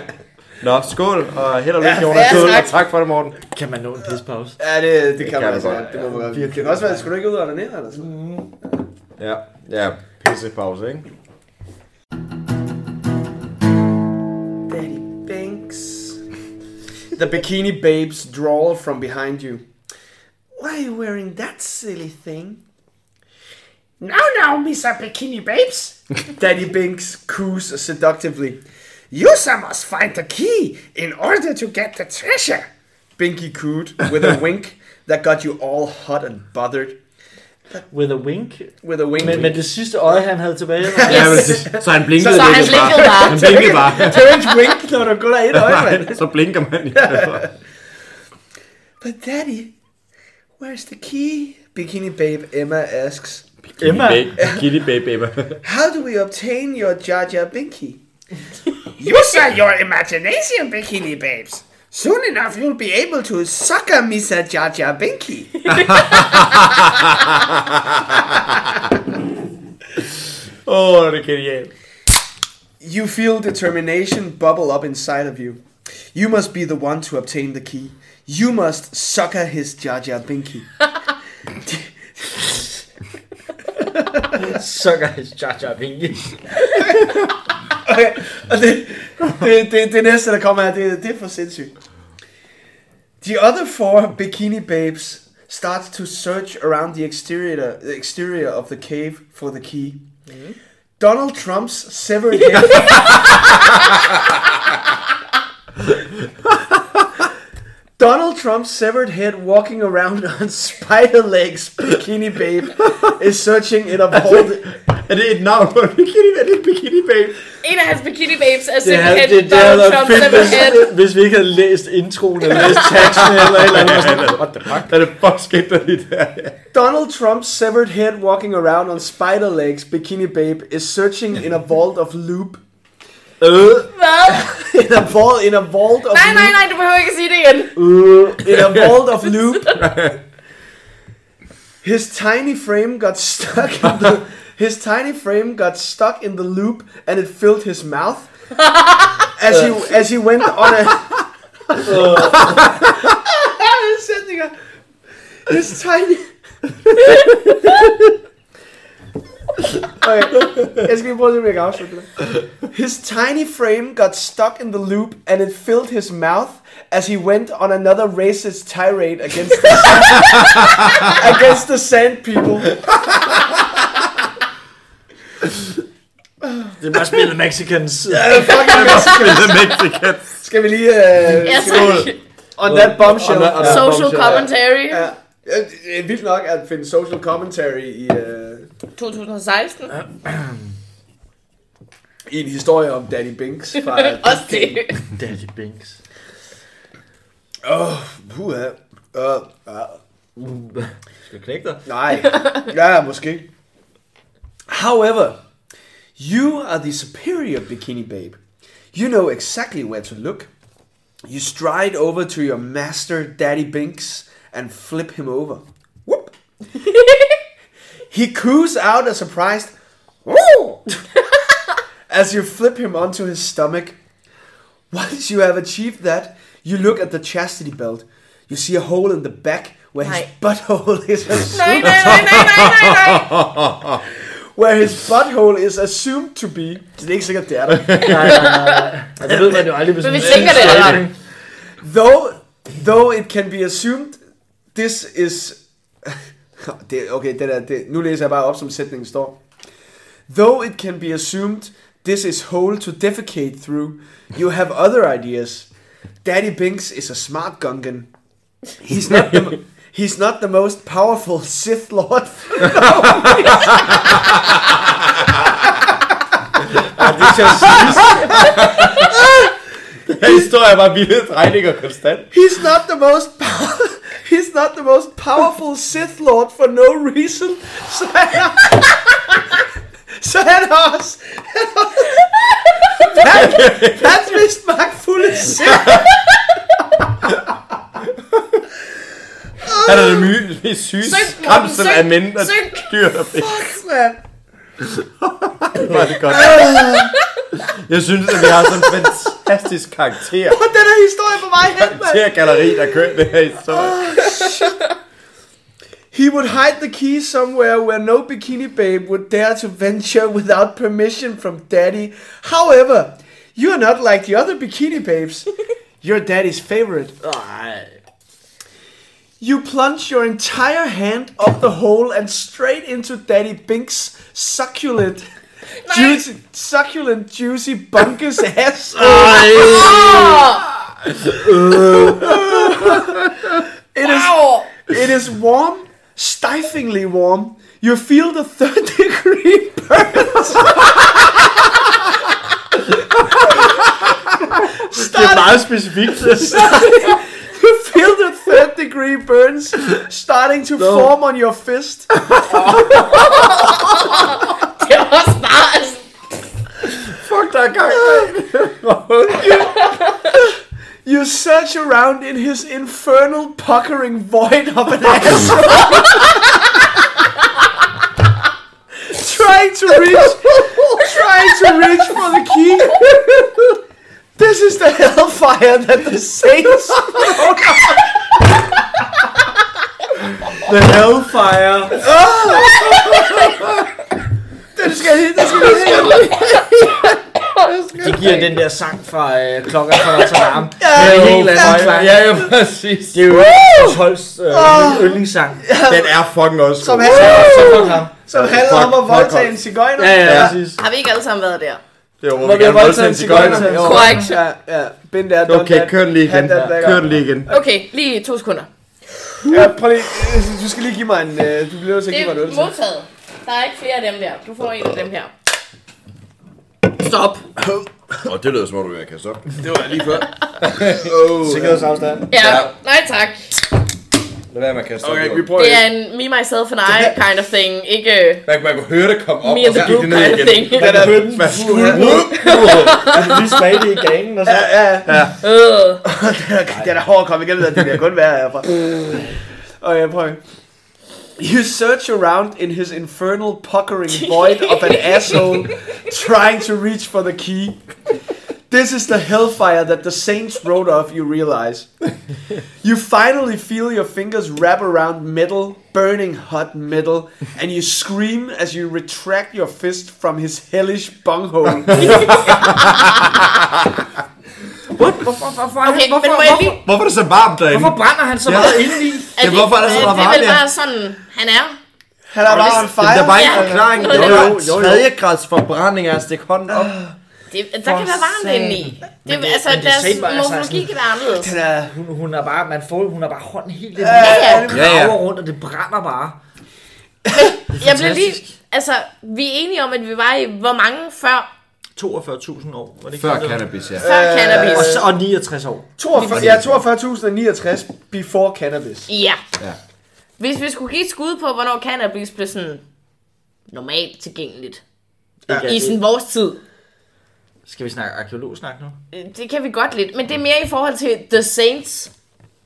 [SPEAKER 3] Nå, skål, og held og lykke,
[SPEAKER 2] Ja,
[SPEAKER 3] Jonas.
[SPEAKER 2] ja, tak.
[SPEAKER 3] og tak for det, Morten.
[SPEAKER 4] Kan man nå en pispause?
[SPEAKER 2] Ja, det, det kan
[SPEAKER 3] kan
[SPEAKER 2] man
[SPEAKER 3] du
[SPEAKER 2] altså
[SPEAKER 3] godt.
[SPEAKER 2] godt. Det må man godt.
[SPEAKER 4] virkelig.
[SPEAKER 2] Det kan også være, skulle du ikke ud og ned eller sådan?
[SPEAKER 3] Ja, ja, pissepause, ikke?
[SPEAKER 2] Betty Banks. The bikini babes drawl from behind you. Why are you wearing that silly thing? No, no, Mr. Bikini Babes! Daddy Binks coos seductively. You must find the key in order to get the treasure! Binky cooed with a wink that got you all hot and bothered.
[SPEAKER 4] with a wink.
[SPEAKER 2] With a wing.
[SPEAKER 4] Men, men det sidste øje, han havde tilbage.
[SPEAKER 3] Ja, men, så han blinkede
[SPEAKER 5] Så- så
[SPEAKER 3] lidt
[SPEAKER 5] han blinkede bare.
[SPEAKER 3] Han blinkede bare.
[SPEAKER 2] Turns wink, når der kun er et øje, mand.
[SPEAKER 3] Nej, så blinker man i stedet for.
[SPEAKER 2] But daddy, where's the key? Bikini Babe Emma asks,
[SPEAKER 4] Emma.
[SPEAKER 3] Kitty babe, Emma.
[SPEAKER 2] How do we obtain your Jar Jar Binky?
[SPEAKER 6] Use your imagination, bikini babes.
[SPEAKER 2] Soon enough you'll be able to sucker Misa Jar Jar Binky.
[SPEAKER 3] Åh, oh, det er genialt.
[SPEAKER 2] You feel determination bubble up inside of you. You must be the one to obtain the key. You must sucker his Jar Jar Binky.
[SPEAKER 4] Sucker his Jar Jar Binky.
[SPEAKER 2] Okay, og det, det, det, det næste, der kommer her, det, det er for sindssygt. The other four bikini babes start to search around the exterior, the exterior of the cave for the key. Donald Trump's severed head. Donald Trump's severed head walking around on spider legs bikini babe is searching in a vault.
[SPEAKER 3] Er det et navn på en bikini? Er det en bikini babe?
[SPEAKER 5] En af hans bikini babes er
[SPEAKER 4] Det havde,
[SPEAKER 5] simpelthen
[SPEAKER 4] det, det havde
[SPEAKER 5] Donald
[SPEAKER 4] været
[SPEAKER 5] Trump
[SPEAKER 4] fedt, hvis,
[SPEAKER 5] simpelthen.
[SPEAKER 4] hvis vi ikke havde læst introen, eller læst teksten, eller et eller andet. var Sådan, What the fuck?
[SPEAKER 3] Er det fuck skete der lige der?
[SPEAKER 2] Donald Trump's severed head walking around on spider legs, Bikini Babe, is searching in a vault of loop.
[SPEAKER 4] Øh,
[SPEAKER 5] Hvad?
[SPEAKER 2] In a vault, in a vault of
[SPEAKER 5] Nej, nej,
[SPEAKER 2] loop.
[SPEAKER 5] nej, du behøver ikke at sige det igen.
[SPEAKER 2] In a vault of loop. His tiny frame got stuck in the his tiny frame got stuck in the loop and it filled his mouth. As he as he went on a sætninger. His tiny... okay, jeg skal lige prøve at se, om jeg kan afslutte det. His tiny frame got stuck in the loop, and it filled his mouth as he went on another racist tirade against the sand, against the sand people.
[SPEAKER 4] det er bare spillet Mexicans.
[SPEAKER 2] Fucking Mexico.
[SPEAKER 3] Det er Mexican.
[SPEAKER 2] Skal vi lige... Uh,
[SPEAKER 5] Ja, tak.
[SPEAKER 2] on that bombshell.
[SPEAKER 3] On that-
[SPEAKER 5] Social commentary.
[SPEAKER 2] Ja. Ja, det er Vildt nok at finde social commentary i, uh,
[SPEAKER 5] 2016.
[SPEAKER 2] i en historie om Danny Binks fra
[SPEAKER 5] Også det.
[SPEAKER 4] Daddy Binks.
[SPEAKER 2] Åh, puha. Øh, øh,
[SPEAKER 4] Skal jeg knække dig?
[SPEAKER 2] nej. Ja, måske. However, you are the superior bikini babe. You know exactly where to look. You stride over to your master, Daddy Binks, and flip him over. Whoop! he coos out a surprised "Woo!" as you flip him onto his stomach. Once you have achieved that, you look at the chastity belt. You see a hole in the back where his
[SPEAKER 5] Hi.
[SPEAKER 2] butthole is
[SPEAKER 5] Nej, nej, nej, nej, nej, nej, nej.
[SPEAKER 2] where his butthole is assumed to be. Det er ikke sikkert, det er der.
[SPEAKER 4] Nej, nej, nej. Og det Altså, ved man jo aldrig, hvis
[SPEAKER 5] Men
[SPEAKER 4] man
[SPEAKER 5] vi tænker det, eller?
[SPEAKER 2] Though, though it can be assumed, this is... det, okay, det der, det, nu læser jeg bare op, som sætningen står. Though it can be assumed, this is hole to defecate through, you have other ideas. Daddy Binks is a smart gungan. He's not the, he's not the most powerful Sith Lord.
[SPEAKER 4] Det skal jeg sige.
[SPEAKER 3] Her historie var vilde drejninger konstant.
[SPEAKER 2] He's not the most pow- He's not the most powerful Sith Lord for no reason. Så han er, så han er også... Han er også Verd- verdens mest magtfulde Sith.
[SPEAKER 3] Han er det my- mest syge
[SPEAKER 5] Søg, Morten,
[SPEAKER 3] skræmsel
[SPEAKER 5] søg,
[SPEAKER 3] af mænd og
[SPEAKER 5] søg.
[SPEAKER 3] dyr. der findes.
[SPEAKER 2] mand.
[SPEAKER 3] Var det godt. Jeg synes, at vi har sådan en fantastisk karakter.
[SPEAKER 2] Og den her historie på vej hen, mand.
[SPEAKER 3] Karaktergalleri, der kører det her historie.
[SPEAKER 2] He would hide the key somewhere where no bikini babe would dare to venture without permission from daddy. However, you are not like the other bikini babes. You're daddy's favorite.
[SPEAKER 4] Ej.
[SPEAKER 2] You plunge your entire hand up the hole and straight into Daddy Bink's succulent, juicy, succulent, juicy bunkus ass.
[SPEAKER 5] Åh,
[SPEAKER 2] It is,
[SPEAKER 5] Au!
[SPEAKER 2] it is warm, stiflingly warm. You feel the third degree burns.
[SPEAKER 4] Det er
[SPEAKER 2] Start
[SPEAKER 4] meget specifikt.
[SPEAKER 2] You feel the third degree burns starting to form on your fist.
[SPEAKER 5] Det er også bare... Altså,
[SPEAKER 3] Fuck, der er gang.
[SPEAKER 2] You search around in his infernal puckering void of an asshole. trying to reach, trying to reach for the key. This is the hellfire that the saints.
[SPEAKER 4] The Hellfire.
[SPEAKER 2] Den skal helt, den skal helt.
[SPEAKER 4] Det giver den der sang fra øh, klokken fra Notre Dame.
[SPEAKER 2] det
[SPEAKER 4] Det
[SPEAKER 2] er
[SPEAKER 4] er
[SPEAKER 2] en
[SPEAKER 4] helt anden klang.
[SPEAKER 3] Ja, ja, præcis.
[SPEAKER 4] Det er jo Tolls øh, yndlingssang.
[SPEAKER 3] Den er fucking også
[SPEAKER 2] Som
[SPEAKER 3] god.
[SPEAKER 2] han-
[SPEAKER 4] Så fuck ham.
[SPEAKER 2] Som handler om at
[SPEAKER 3] Fuck, fuck,
[SPEAKER 2] voldtage
[SPEAKER 3] fuck.
[SPEAKER 2] en cigøjner.
[SPEAKER 4] Ja, ja,
[SPEAKER 3] Ja.
[SPEAKER 4] præcis.
[SPEAKER 5] har vi ikke alle sammen været der?
[SPEAKER 3] Det var, hvor
[SPEAKER 2] Hvor
[SPEAKER 3] vi
[SPEAKER 2] vi har
[SPEAKER 3] gerne
[SPEAKER 2] voldtaget
[SPEAKER 3] voldtaget en
[SPEAKER 2] en cigøjner.
[SPEAKER 3] cigøjner.
[SPEAKER 2] Jo.
[SPEAKER 5] Korrekt.
[SPEAKER 2] Ja, ja. Bind der,
[SPEAKER 3] Okay, kør den lige igen. Kør den lige igen.
[SPEAKER 5] Okay, lige to sekunder.
[SPEAKER 2] Ja, prøv lige. Du skal lige give mig en... øh, Du bliver nødt til at
[SPEAKER 5] Det
[SPEAKER 2] give mig
[SPEAKER 5] er
[SPEAKER 2] en øl. til.
[SPEAKER 5] modtaget. Der er ikke flere af dem der. Du får en af dem her. Stop.
[SPEAKER 1] Og det lyder som om, du vil kaste op.
[SPEAKER 3] Det var lige før.
[SPEAKER 4] Sikkerhedsafstand.
[SPEAKER 5] Ja. Nej tak.
[SPEAKER 3] Lad være med at kaste op.
[SPEAKER 1] Okay, vi prøver
[SPEAKER 5] Det
[SPEAKER 1] igen.
[SPEAKER 5] er en me, myself and I kind of thing. Ikke øh,
[SPEAKER 1] Man, man kunne høre det komme op, og
[SPEAKER 5] me and
[SPEAKER 1] så
[SPEAKER 5] the
[SPEAKER 1] gik
[SPEAKER 5] group
[SPEAKER 1] det ned
[SPEAKER 5] kind of
[SPEAKER 1] igen.
[SPEAKER 5] thing.
[SPEAKER 3] Man skulle have...
[SPEAKER 4] Altså, vi smagte det i ganen og så.
[SPEAKER 2] Ja, ja.
[SPEAKER 5] Øh.
[SPEAKER 2] Den er hård at komme igennem, og det bliver kun værre herfra. Og jeg prøver. You search around in his infernal puckering void of an asshole trying to reach for the key. This is the hellfire that the saints wrote of, you realize. You finally feel your fingers wrap around metal, burning hot metal, and you scream as you retract your fist from his hellish bunghole.
[SPEAKER 4] Hvorfor, hvorfor,
[SPEAKER 5] Okay,
[SPEAKER 4] hvorfor,
[SPEAKER 5] men må jeg lige...
[SPEAKER 3] Hvorfor er det så varmt derinde?
[SPEAKER 4] hvorfor brænder han så meget indeni?
[SPEAKER 5] Er
[SPEAKER 3] Ja, hvorfor er der så meget
[SPEAKER 5] det er vel
[SPEAKER 3] varme der?
[SPEAKER 5] bare sådan, han er.
[SPEAKER 2] Han er bare on
[SPEAKER 3] Jamen,
[SPEAKER 2] fire.
[SPEAKER 3] der var ikke
[SPEAKER 5] Ja.
[SPEAKER 3] forklaring.
[SPEAKER 5] Jo,
[SPEAKER 3] Det var
[SPEAKER 5] jo,
[SPEAKER 3] en tredjegrads forbrænding af at stikke hånden op.
[SPEAKER 1] Ah.
[SPEAKER 5] Det, der kan være varmt
[SPEAKER 4] satan.
[SPEAKER 5] indeni. Det,
[SPEAKER 4] det-
[SPEAKER 5] altså,
[SPEAKER 4] men det
[SPEAKER 5] deres
[SPEAKER 4] sagde bare, altså,
[SPEAKER 5] morfologi
[SPEAKER 4] sådan-
[SPEAKER 5] kan være anderledes.
[SPEAKER 2] Den er-
[SPEAKER 4] Hun, hun er bare, man får, hun er bare hånden helt ind.
[SPEAKER 5] ja.
[SPEAKER 4] Ja,
[SPEAKER 3] Ja, ja.
[SPEAKER 4] ja. rundt, og det brænder bare.
[SPEAKER 5] Jeg blev lige... Altså, vi er enige om, at vi var i hvor mange før,
[SPEAKER 4] 42.000 år, var det ikke
[SPEAKER 3] Før
[SPEAKER 4] sådan, det var?
[SPEAKER 3] cannabis, ja.
[SPEAKER 5] før cannabis?
[SPEAKER 4] Og, så- og 69 år.
[SPEAKER 2] 42, ja, 42.069 before cannabis.
[SPEAKER 5] Ja.
[SPEAKER 3] Ja.
[SPEAKER 5] Hvis vi skulle give et skud på, hvornår cannabis blev sådan normalt tilgængeligt.
[SPEAKER 4] Ikke
[SPEAKER 5] I
[SPEAKER 4] at-
[SPEAKER 5] sådan vores tid.
[SPEAKER 4] Skal vi snakke arkeologsnak nu?
[SPEAKER 5] Øh, Det kan vi godt lidt, men det er mere i forhold til The Saints.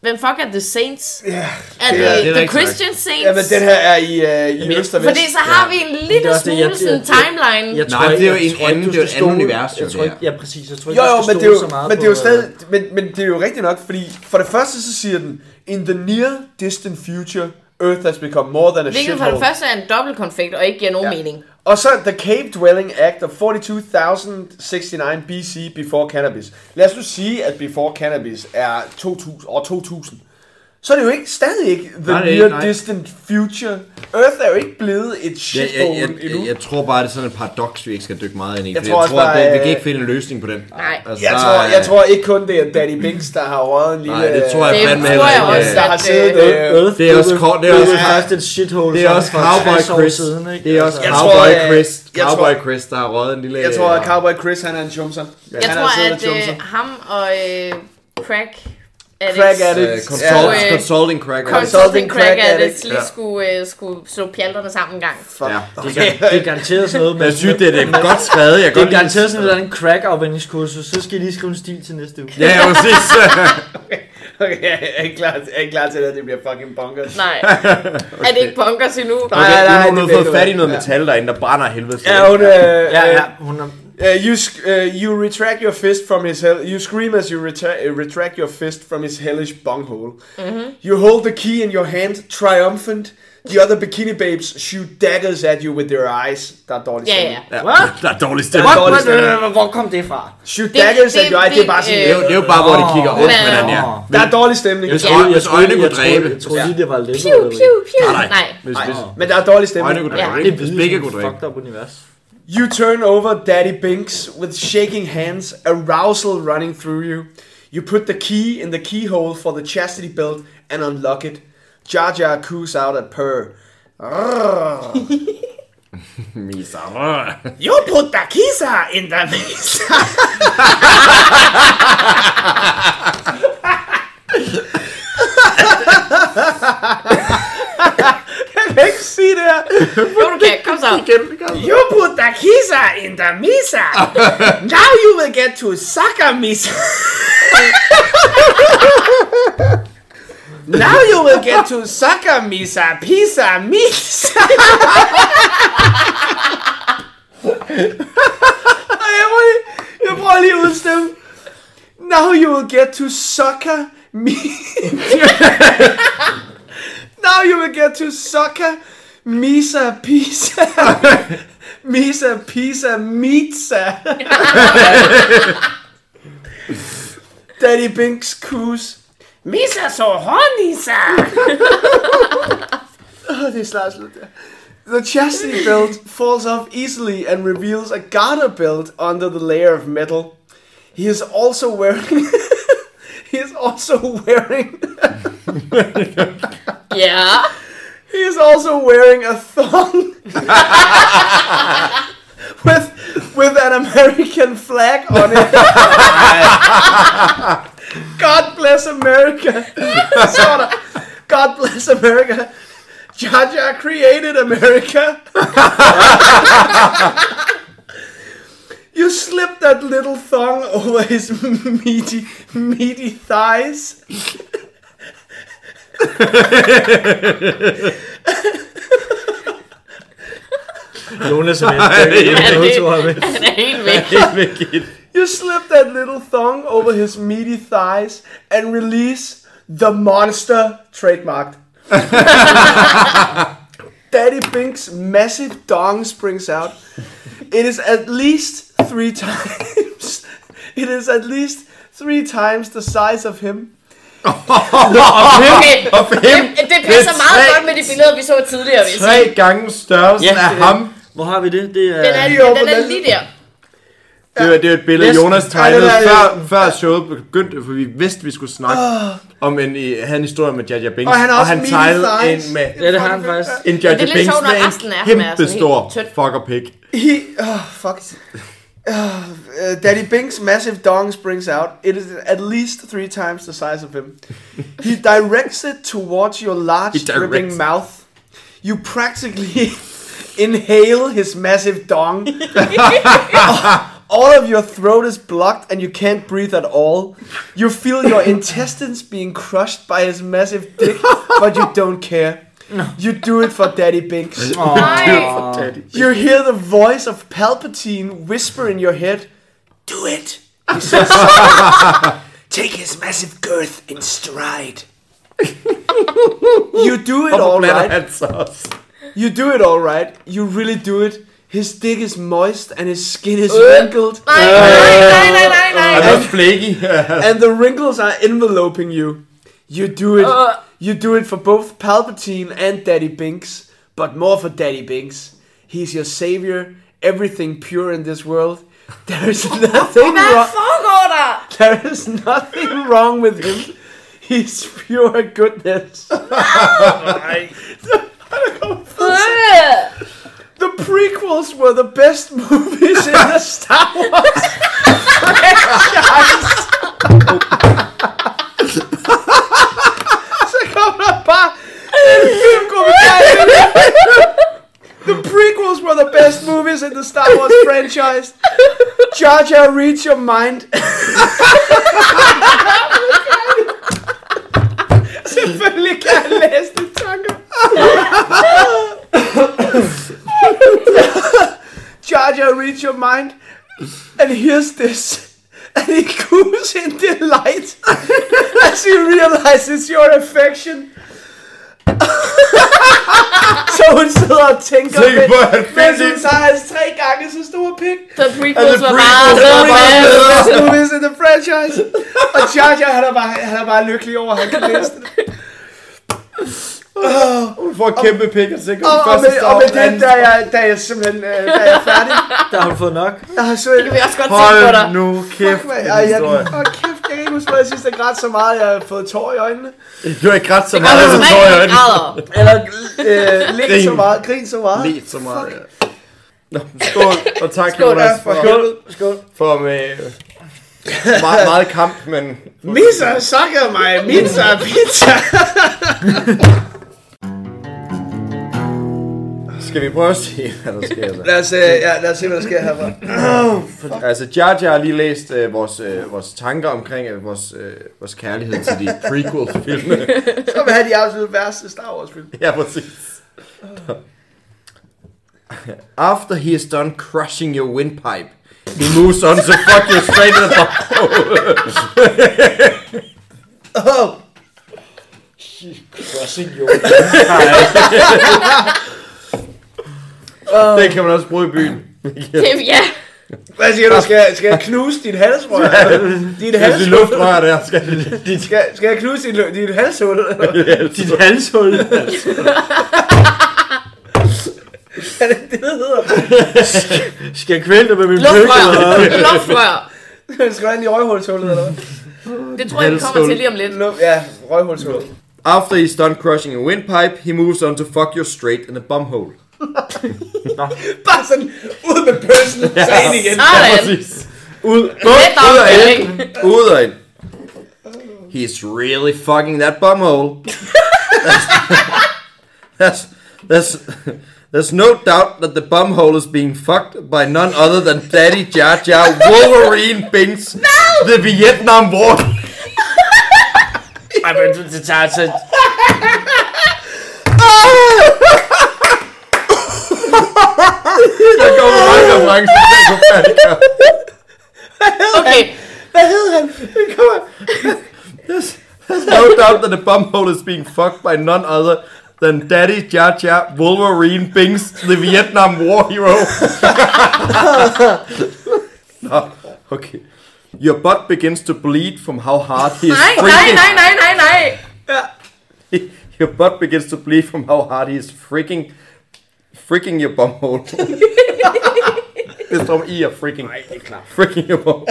[SPEAKER 5] Hvem fuck er The Saints?
[SPEAKER 2] Ja,
[SPEAKER 5] Er det,
[SPEAKER 3] det er
[SPEAKER 5] det The
[SPEAKER 3] rigtigt nok.
[SPEAKER 5] Christian Saints?
[SPEAKER 2] Jamen, den her er i, øh, i Øst og Vest.
[SPEAKER 5] Fordi så har vi en lille
[SPEAKER 4] det er også det,
[SPEAKER 5] smule
[SPEAKER 4] jeg-
[SPEAKER 5] sådan
[SPEAKER 4] jeg-
[SPEAKER 5] timeline.
[SPEAKER 4] Jeg
[SPEAKER 3] Nej, det er jo
[SPEAKER 4] ikke-
[SPEAKER 3] en
[SPEAKER 4] tror ikke,
[SPEAKER 3] anden-
[SPEAKER 4] du
[SPEAKER 3] det er jo et
[SPEAKER 4] skal
[SPEAKER 3] andet
[SPEAKER 4] stole-
[SPEAKER 3] univers, jo,
[SPEAKER 4] Jeg tror
[SPEAKER 3] det
[SPEAKER 4] ikke, ja, præcis. Jeg tror
[SPEAKER 2] Jo,
[SPEAKER 4] ikke,
[SPEAKER 2] jo,
[SPEAKER 4] du skal
[SPEAKER 2] men det er
[SPEAKER 4] stole
[SPEAKER 2] jo,
[SPEAKER 4] så meget
[SPEAKER 2] men det er jo
[SPEAKER 4] på, øh,
[SPEAKER 2] stadig, men, men det er jo rigtigt nok, fordi for det første så siger den, in the near distant future, Earth has become more than a
[SPEAKER 5] Hvilket for det
[SPEAKER 2] shithole.
[SPEAKER 5] første er en dobbeltkonfekt og ikke giver nogen
[SPEAKER 2] Ja.
[SPEAKER 5] mening.
[SPEAKER 2] Og så The Cave Dwelling Act of 42.069 BC before cannabis. Lad os nu sige, at before cannabis er 2000, år 2000. Så er det jo ikke, stadig ikke the
[SPEAKER 3] Nej, det er
[SPEAKER 2] near
[SPEAKER 3] ikke, nej.
[SPEAKER 2] distant future. Earth er jo ikke blevet et
[SPEAKER 3] Jeg, jeg,
[SPEAKER 2] shithole
[SPEAKER 3] jeg,
[SPEAKER 2] endnu.
[SPEAKER 3] jeg, jeg tror bare, det er sådan et paradoks, vi ikke skal dykke meget ind i. fordi
[SPEAKER 2] tror
[SPEAKER 3] jeg
[SPEAKER 2] også
[SPEAKER 3] tror
[SPEAKER 2] bare,
[SPEAKER 3] at det, vi kan
[SPEAKER 2] øh,
[SPEAKER 3] ikke finde en løsning på den.
[SPEAKER 5] Nej.
[SPEAKER 3] Altså,
[SPEAKER 2] Jeg
[SPEAKER 3] der
[SPEAKER 2] tror,
[SPEAKER 3] er-
[SPEAKER 2] jeg tror ikke kun det er Danny Binks, der har røget en lille... øh,
[SPEAKER 3] Nej, det tror jeg
[SPEAKER 5] Det
[SPEAKER 3] fandme
[SPEAKER 5] tror
[SPEAKER 3] heller ikke.
[SPEAKER 5] jeg også,
[SPEAKER 2] Der
[SPEAKER 3] øh,
[SPEAKER 2] har
[SPEAKER 5] at,
[SPEAKER 2] siddet...
[SPEAKER 5] øh,
[SPEAKER 2] Øh,
[SPEAKER 4] Earth
[SPEAKER 3] Det er også
[SPEAKER 4] blev-
[SPEAKER 3] kort- det er også-
[SPEAKER 4] blev først et shithole
[SPEAKER 3] Det er
[SPEAKER 4] sådan
[SPEAKER 3] også
[SPEAKER 4] for
[SPEAKER 3] Cowboy
[SPEAKER 4] 60 år
[SPEAKER 3] Chris.
[SPEAKER 4] siden, ikke?
[SPEAKER 3] Det er også
[SPEAKER 4] Altså,
[SPEAKER 2] Jeg
[SPEAKER 3] Cowboy
[SPEAKER 2] tror, øh,
[SPEAKER 3] Chris.
[SPEAKER 2] jeg tror-
[SPEAKER 3] Cowboy Chris, der har røget en lille... øh,
[SPEAKER 2] jeg tror, at Cowboy Chris, han er en chumser.
[SPEAKER 5] Jeg
[SPEAKER 2] han
[SPEAKER 5] tror,
[SPEAKER 2] har siddet
[SPEAKER 5] at
[SPEAKER 2] og chumser.
[SPEAKER 5] øh, ham og øh, Crack addicts,
[SPEAKER 2] Crack
[SPEAKER 3] Øh,
[SPEAKER 2] addicts.
[SPEAKER 3] consult,
[SPEAKER 5] Ja.
[SPEAKER 3] Consulting crack.
[SPEAKER 5] consulting Crack
[SPEAKER 2] Crack
[SPEAKER 5] addicts,
[SPEAKER 2] addicts,
[SPEAKER 5] lige
[SPEAKER 3] ja.
[SPEAKER 5] skulle, øh, skulle slå pjalterne sammen en gang.
[SPEAKER 2] Fuck.
[SPEAKER 3] Ja.
[SPEAKER 4] Det er, gar- det er garanteret sådan noget med...
[SPEAKER 3] Jeg synes, det er det er godt skrevet. Jeg kan
[SPEAKER 4] Det
[SPEAKER 3] godt
[SPEAKER 4] er garanteret sådan
[SPEAKER 3] lide-
[SPEAKER 4] et eller andet crack-afvendingskursus, så skal I lige skrive en stil til næste uge.
[SPEAKER 3] Ja, ja, præcis.
[SPEAKER 2] Okay, jeg er ikke klar, jeg er ikke klar til, at det bliver fucking bonkers.
[SPEAKER 5] Nej. Er det ikke bunkers endnu?
[SPEAKER 2] Nej, nej,
[SPEAKER 3] Okay, nu
[SPEAKER 2] det
[SPEAKER 3] har hun
[SPEAKER 2] ved
[SPEAKER 3] fået
[SPEAKER 2] du
[SPEAKER 3] fat i
[SPEAKER 2] ikke.
[SPEAKER 3] noget
[SPEAKER 2] Ja.
[SPEAKER 3] metal derinde, der brænder af helvede. til.
[SPEAKER 2] Ja, hun... Øh,
[SPEAKER 4] Ja,
[SPEAKER 2] øh,
[SPEAKER 4] ja, hun er...
[SPEAKER 2] Uh, you, sc- uh, you retract your fist from his hell. You scream as you retra- uh, retract your fist from his hellish bunghole.
[SPEAKER 5] Mm-hmm.
[SPEAKER 2] You hold the key in your hand, triumphant. The other bikini babes shoot daggers at you with their eyes. Der er dårlig
[SPEAKER 5] Ja,
[SPEAKER 2] stemning.
[SPEAKER 5] ja.
[SPEAKER 3] Ja,
[SPEAKER 4] Hvad?
[SPEAKER 3] Der er dårlig
[SPEAKER 2] Der
[SPEAKER 3] stemning.
[SPEAKER 2] er dårlig stemning.
[SPEAKER 4] Hvor kom det fra?
[SPEAKER 2] Shoot
[SPEAKER 5] Det-
[SPEAKER 2] daggers at
[SPEAKER 5] det-
[SPEAKER 2] your eyes. Det er bare
[SPEAKER 5] det- øh,
[SPEAKER 2] sådan.
[SPEAKER 3] Det er jo- det er jo bare, hvor det kigger
[SPEAKER 5] Åh.
[SPEAKER 3] op med den her.
[SPEAKER 4] Åh.
[SPEAKER 2] Der er dårlig stemning.
[SPEAKER 3] Hvis øj- hvis øjne kunne
[SPEAKER 4] troede-
[SPEAKER 3] dræbe.
[SPEAKER 4] Jeg troede lige, det var lidt.
[SPEAKER 5] Piu, piu, piu.
[SPEAKER 3] Nej,
[SPEAKER 5] Nej.
[SPEAKER 3] Hvis, hvis
[SPEAKER 2] Men der er dårlig
[SPEAKER 3] øjne
[SPEAKER 2] stemning.
[SPEAKER 3] kunne
[SPEAKER 5] Ja.
[SPEAKER 3] dræbe. Hvis begge kunne dræbe.
[SPEAKER 4] ligesom Fucked up univers.
[SPEAKER 2] You turn over Daddy Binks with shaking hands, arousal running through you. You put the key in the keyhole for the chastity belt and unlock it. Jar Jar coos out at purr. Rrrr.
[SPEAKER 6] You put the kisa in the mix.
[SPEAKER 2] Jeg kan ikke sige det her.
[SPEAKER 5] Jo, du kan. Kom så.
[SPEAKER 6] You put the kisa in the misa. now you will get to sucker misa.
[SPEAKER 2] Now you will get to...
[SPEAKER 6] Sucker misa, pizza misa.
[SPEAKER 2] Ej, Jeg, må lige, jeg prøver lige at udstemme. Now you will get to sucker me. Now you will get to sucker Misa Pisa. Misa Pisa Mitsa. Daddy Binks kus.
[SPEAKER 6] misa so horny, sir.
[SPEAKER 2] Oh, det er snart slut. The chastity belt falls off easily and reveals a garter belt under the layer of metal. He is also wearing. he is also wearing.
[SPEAKER 5] Ja.
[SPEAKER 2] He is also wearing a thong with with an American flag on it. God bless America. Sort of. God bless America. Jaja created America. you slip that little thong over his meaty meaty thighs.
[SPEAKER 4] Jonas er med.
[SPEAKER 5] Ja, det,
[SPEAKER 4] Jonas er med.
[SPEAKER 5] han er helt væk.
[SPEAKER 2] You slip that little thong over his meaty thighs and release the monster trademarked. Daddy Bink's massive dong springs out. It is at least three times. It is at least three times the size of him.
[SPEAKER 5] Okay.
[SPEAKER 3] Og fem,
[SPEAKER 5] Det, det
[SPEAKER 3] Det
[SPEAKER 5] passer
[SPEAKER 3] er
[SPEAKER 5] meget
[SPEAKER 3] tre-
[SPEAKER 5] godt med de billeder, vi så tidligere, vil jeg
[SPEAKER 3] tre
[SPEAKER 5] sige.
[SPEAKER 3] gange størrelsen
[SPEAKER 4] Ja,
[SPEAKER 3] af
[SPEAKER 4] det er
[SPEAKER 3] ham.
[SPEAKER 4] Hvor har vi det? Det
[SPEAKER 5] Den er,
[SPEAKER 4] er...
[SPEAKER 5] den er lige der.
[SPEAKER 3] Det var, det var et billede,
[SPEAKER 4] Næsten.
[SPEAKER 3] Jonas tegnede
[SPEAKER 2] Ja, det
[SPEAKER 3] før,
[SPEAKER 2] var-
[SPEAKER 3] før showet begyndte, for vi vidste, vi skulle snakke om en, i- han historie med Jaja Binks.
[SPEAKER 2] Og han har
[SPEAKER 3] og
[SPEAKER 2] også
[SPEAKER 3] han
[SPEAKER 2] mini
[SPEAKER 3] tegnede
[SPEAKER 2] thighs.
[SPEAKER 3] en med
[SPEAKER 4] Ja, det har han faktisk.
[SPEAKER 3] en
[SPEAKER 5] det
[SPEAKER 3] Jaja
[SPEAKER 5] er lidt
[SPEAKER 3] Binks
[SPEAKER 5] sjovt, når
[SPEAKER 3] med
[SPEAKER 5] resten af
[SPEAKER 3] en
[SPEAKER 5] ham er sådan
[SPEAKER 3] kæmpe stor
[SPEAKER 5] helt tynd.
[SPEAKER 3] fucker pig.
[SPEAKER 2] He. Oh, fuck. Oh, uh, Daddy Bink's massive dong springs out. It is at least three times the size of him. He directs it towards your large,
[SPEAKER 3] He directs
[SPEAKER 2] dripping
[SPEAKER 3] it.
[SPEAKER 2] mouth. You practically inhale his massive dong. all of your throat is blocked and you can't breathe at all. You feel your intestines being crushed by his massive dick, but you don't care. You do it for Daddy Binks.
[SPEAKER 5] Nej.
[SPEAKER 2] You hear the voice of Palpatine whisper in your head, Do it! He says, Take his massive girth in stride. you do it all
[SPEAKER 3] Blander
[SPEAKER 2] right.
[SPEAKER 3] han så også.
[SPEAKER 2] You do it all right. You really do it. His dick is moist and his skin is
[SPEAKER 5] Øh.
[SPEAKER 2] wrinkled,
[SPEAKER 5] Nej, nej, nej, nej, nej, nej.
[SPEAKER 3] Han er også flækig.
[SPEAKER 2] and the wrinkles are enveloping you. You do it.
[SPEAKER 5] Øh.
[SPEAKER 2] You do it for both Palpatine and Daddy Binks, but more for Daddy Binks. He's your savior, everything pure in this world. There is nothing
[SPEAKER 5] Hvad
[SPEAKER 2] wrong.
[SPEAKER 5] foregår der?
[SPEAKER 2] There is nothing wrong with him. He's pure goodness.
[SPEAKER 5] Øh.
[SPEAKER 2] The prequels were the best movies in the Star Wars franchise. Så kom der bare en filmkommentar. ind. The prequels were the best movies in the Star Wars franchise. Jar Jar, read your mind. Selvfølgelig kan jeg læse de tanker. Charger, read your mind. And here's this. And he goes in delight as he realizes your affection. så hun sidder og tænker
[SPEAKER 3] Tænk
[SPEAKER 2] med,
[SPEAKER 3] på, at han
[SPEAKER 2] mens hun
[SPEAKER 3] fandt
[SPEAKER 2] tager hans tre gange så store pik.
[SPEAKER 5] The prequels var bare
[SPEAKER 3] prequels
[SPEAKER 5] så
[SPEAKER 3] var
[SPEAKER 5] bad.
[SPEAKER 3] bare-
[SPEAKER 2] Best movies in the franchise. Og Jar Jar, han er bare, han er bare lykkelig over, at han kan læse det.
[SPEAKER 3] Hun får kæmpe pik, og sikkert
[SPEAKER 2] Og, og,
[SPEAKER 3] første
[SPEAKER 2] med, og
[SPEAKER 3] Star
[SPEAKER 2] med
[SPEAKER 3] Wars.
[SPEAKER 2] det, der er jeg, der er jeg simpelthen øh, der er jeg færdig.
[SPEAKER 4] Der har hun fået nok.
[SPEAKER 2] Jeg har så
[SPEAKER 5] Det kan vi også godt tænke på dig.
[SPEAKER 3] Hold nu kæft,
[SPEAKER 2] Fuck, mand.
[SPEAKER 3] en
[SPEAKER 2] Ej, jeg,
[SPEAKER 3] historie.
[SPEAKER 2] åh, kæft, jeg kan ikke ikke huske, hvor jeg sidst har grædt så meget, jeg har fået tår i øjnene.
[SPEAKER 3] Du har ikke grædt så
[SPEAKER 5] Og
[SPEAKER 3] meget, så
[SPEAKER 5] rigtig
[SPEAKER 3] tår jeg
[SPEAKER 5] græder.
[SPEAKER 2] Eller øh, lidt
[SPEAKER 3] Grin.
[SPEAKER 2] så meget, grin så meget.
[SPEAKER 3] Lidt så meget, ja. Nå, skål, og tak
[SPEAKER 5] Skål,
[SPEAKER 3] Jonas
[SPEAKER 5] ja,
[SPEAKER 3] for,
[SPEAKER 2] skål.
[SPEAKER 3] for med øh, meget, meget kamp, men
[SPEAKER 6] Misa sucker my pizza pizza.
[SPEAKER 3] skal vi prøve at se, hvad der sker så?
[SPEAKER 2] Lad os, øh, ja, lad os se, hvad der sker herfra.
[SPEAKER 3] Altså, Jar Jar har lige læst øh, vores, øh, vores tanker omkring øh, vores, øh, vores kærlighed til de prequel-filmene.
[SPEAKER 2] Så vil jeg have de absolut værste Star Wars film.
[SPEAKER 3] ja, præcis. After he is done crushing your windpipe, he moves on to fuck you straight in the butthole.
[SPEAKER 2] Oh,
[SPEAKER 3] Den kan man også bruge i byen.
[SPEAKER 5] Det- Ja,
[SPEAKER 2] hvad siger du? Skal, jeg- skal jeg knuse din halsrør? Din
[SPEAKER 3] Hvis de
[SPEAKER 2] halsrør?
[SPEAKER 3] luftrører der, skal de... de
[SPEAKER 2] Skal, skal jeg knuse din, din halshul?
[SPEAKER 4] Dit halshul.
[SPEAKER 2] Er det det, det hedder?
[SPEAKER 4] Skal jeg kvæle dig med min pøk?
[SPEAKER 5] luftrør. Luftrør.
[SPEAKER 2] Skal jeg ind i røghulshullet eller hvad?
[SPEAKER 5] Det tror jeg, vi kommer til lige om lidt.
[SPEAKER 2] Lu- Ja, røghulshullet.
[SPEAKER 3] After he's done crushing your windpipe, he moves on to fuck you straight in the bumhole.
[SPEAKER 2] Bare sådan ud med pølsen, så ind igen.
[SPEAKER 5] Sådan.
[SPEAKER 3] Ud, ud,
[SPEAKER 5] Let
[SPEAKER 3] ud af
[SPEAKER 5] afgang.
[SPEAKER 3] ind. Ud af ind. He's really fucking that bumhole. That's, that's, that's, there's no doubt that the bumhole is being fucked by none other than Daddy Jar Jar Wolverine Binks, the Vietnam War.
[SPEAKER 4] Ej, men det tager altså...
[SPEAKER 3] Der kommer mange referencer, der kunne færdiggøre.
[SPEAKER 5] Okay,
[SPEAKER 2] Hvad hed han? Kom her.
[SPEAKER 3] There's no doubt that the bumhole is being fucked by none other than Daddy Jar Jar Wolverine Binks, the Vietnam War hero. Nå, okay. Your butt begins to bleed from how hard he is
[SPEAKER 5] nej, nej,
[SPEAKER 3] freaking.
[SPEAKER 5] nej, nej, nej, nej.
[SPEAKER 3] Your butt begins to bleed from how hard he is freaking, freaking your bumhole. Det står om i er freaking. Nej, det er klart. Freaking your bumhole.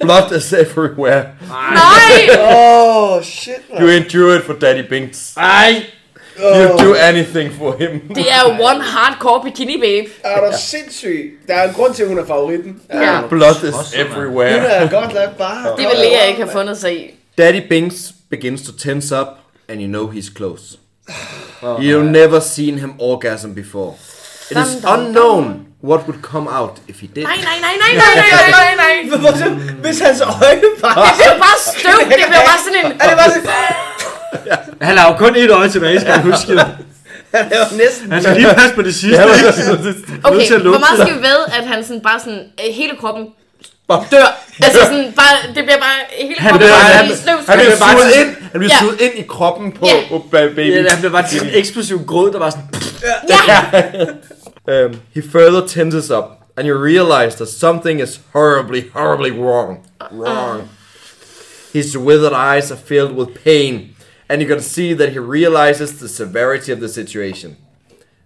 [SPEAKER 3] Blood is everywhere.
[SPEAKER 5] Nej!
[SPEAKER 2] Åh, oh, shit.
[SPEAKER 3] You endure it for Daddy Binks.
[SPEAKER 4] Ej!
[SPEAKER 3] You do anything for him.
[SPEAKER 5] Det er jo one hardcore bikini babe.
[SPEAKER 2] Er du sindssyg? Der er en grund til, at hun er favoritten.
[SPEAKER 5] Ja.
[SPEAKER 3] Blood is
[SPEAKER 4] Også, mand.
[SPEAKER 2] Hun
[SPEAKER 3] everywhere.
[SPEAKER 2] er godt nok bare...
[SPEAKER 5] Det vil Lea ikke have fundet sig i.
[SPEAKER 3] Daddy Binks begins to tense up, and you know he's close. You've never seen him orgasm before. It is
[SPEAKER 5] Dun, dun,
[SPEAKER 3] unknown what would come out if he did.
[SPEAKER 5] Nej, nej, nej, nej, nej, nej, nej, nej, nej.
[SPEAKER 2] Hvorfor- Hvis hans øjne bare...
[SPEAKER 5] Det bliver bare støv. Det bliver bare sådan en...
[SPEAKER 2] Er det bare sådan...
[SPEAKER 4] Han har jo kun et øje tilbage, skal jeg huske. det.
[SPEAKER 2] Det var næsten...
[SPEAKER 4] Han skal lige passe på det sidste.
[SPEAKER 5] Okay,
[SPEAKER 4] til at lukke
[SPEAKER 5] hvor meget skal vi ved, at han sådan bare sådan... øh, Hele kroppen dør. Altså sådan bare... Det bliver bare... Hele
[SPEAKER 4] Han
[SPEAKER 5] kroppen
[SPEAKER 4] dør,
[SPEAKER 5] bare
[SPEAKER 4] han-
[SPEAKER 5] i støv.
[SPEAKER 3] Han bliver
[SPEAKER 4] bare
[SPEAKER 3] suget
[SPEAKER 4] til-
[SPEAKER 3] ind, han bliver
[SPEAKER 5] Ja.
[SPEAKER 3] suget ind i kroppen på,
[SPEAKER 5] Ja.
[SPEAKER 3] på ba- baby.
[SPEAKER 4] Ja, han blev bare til en eksplosiv grød, der var sådan...
[SPEAKER 3] Um, he further tenses up, and you realize that something is horribly, horribly wrong. Wrong. His withered eyes are filled with pain, and you can see that he realizes the severity of the situation.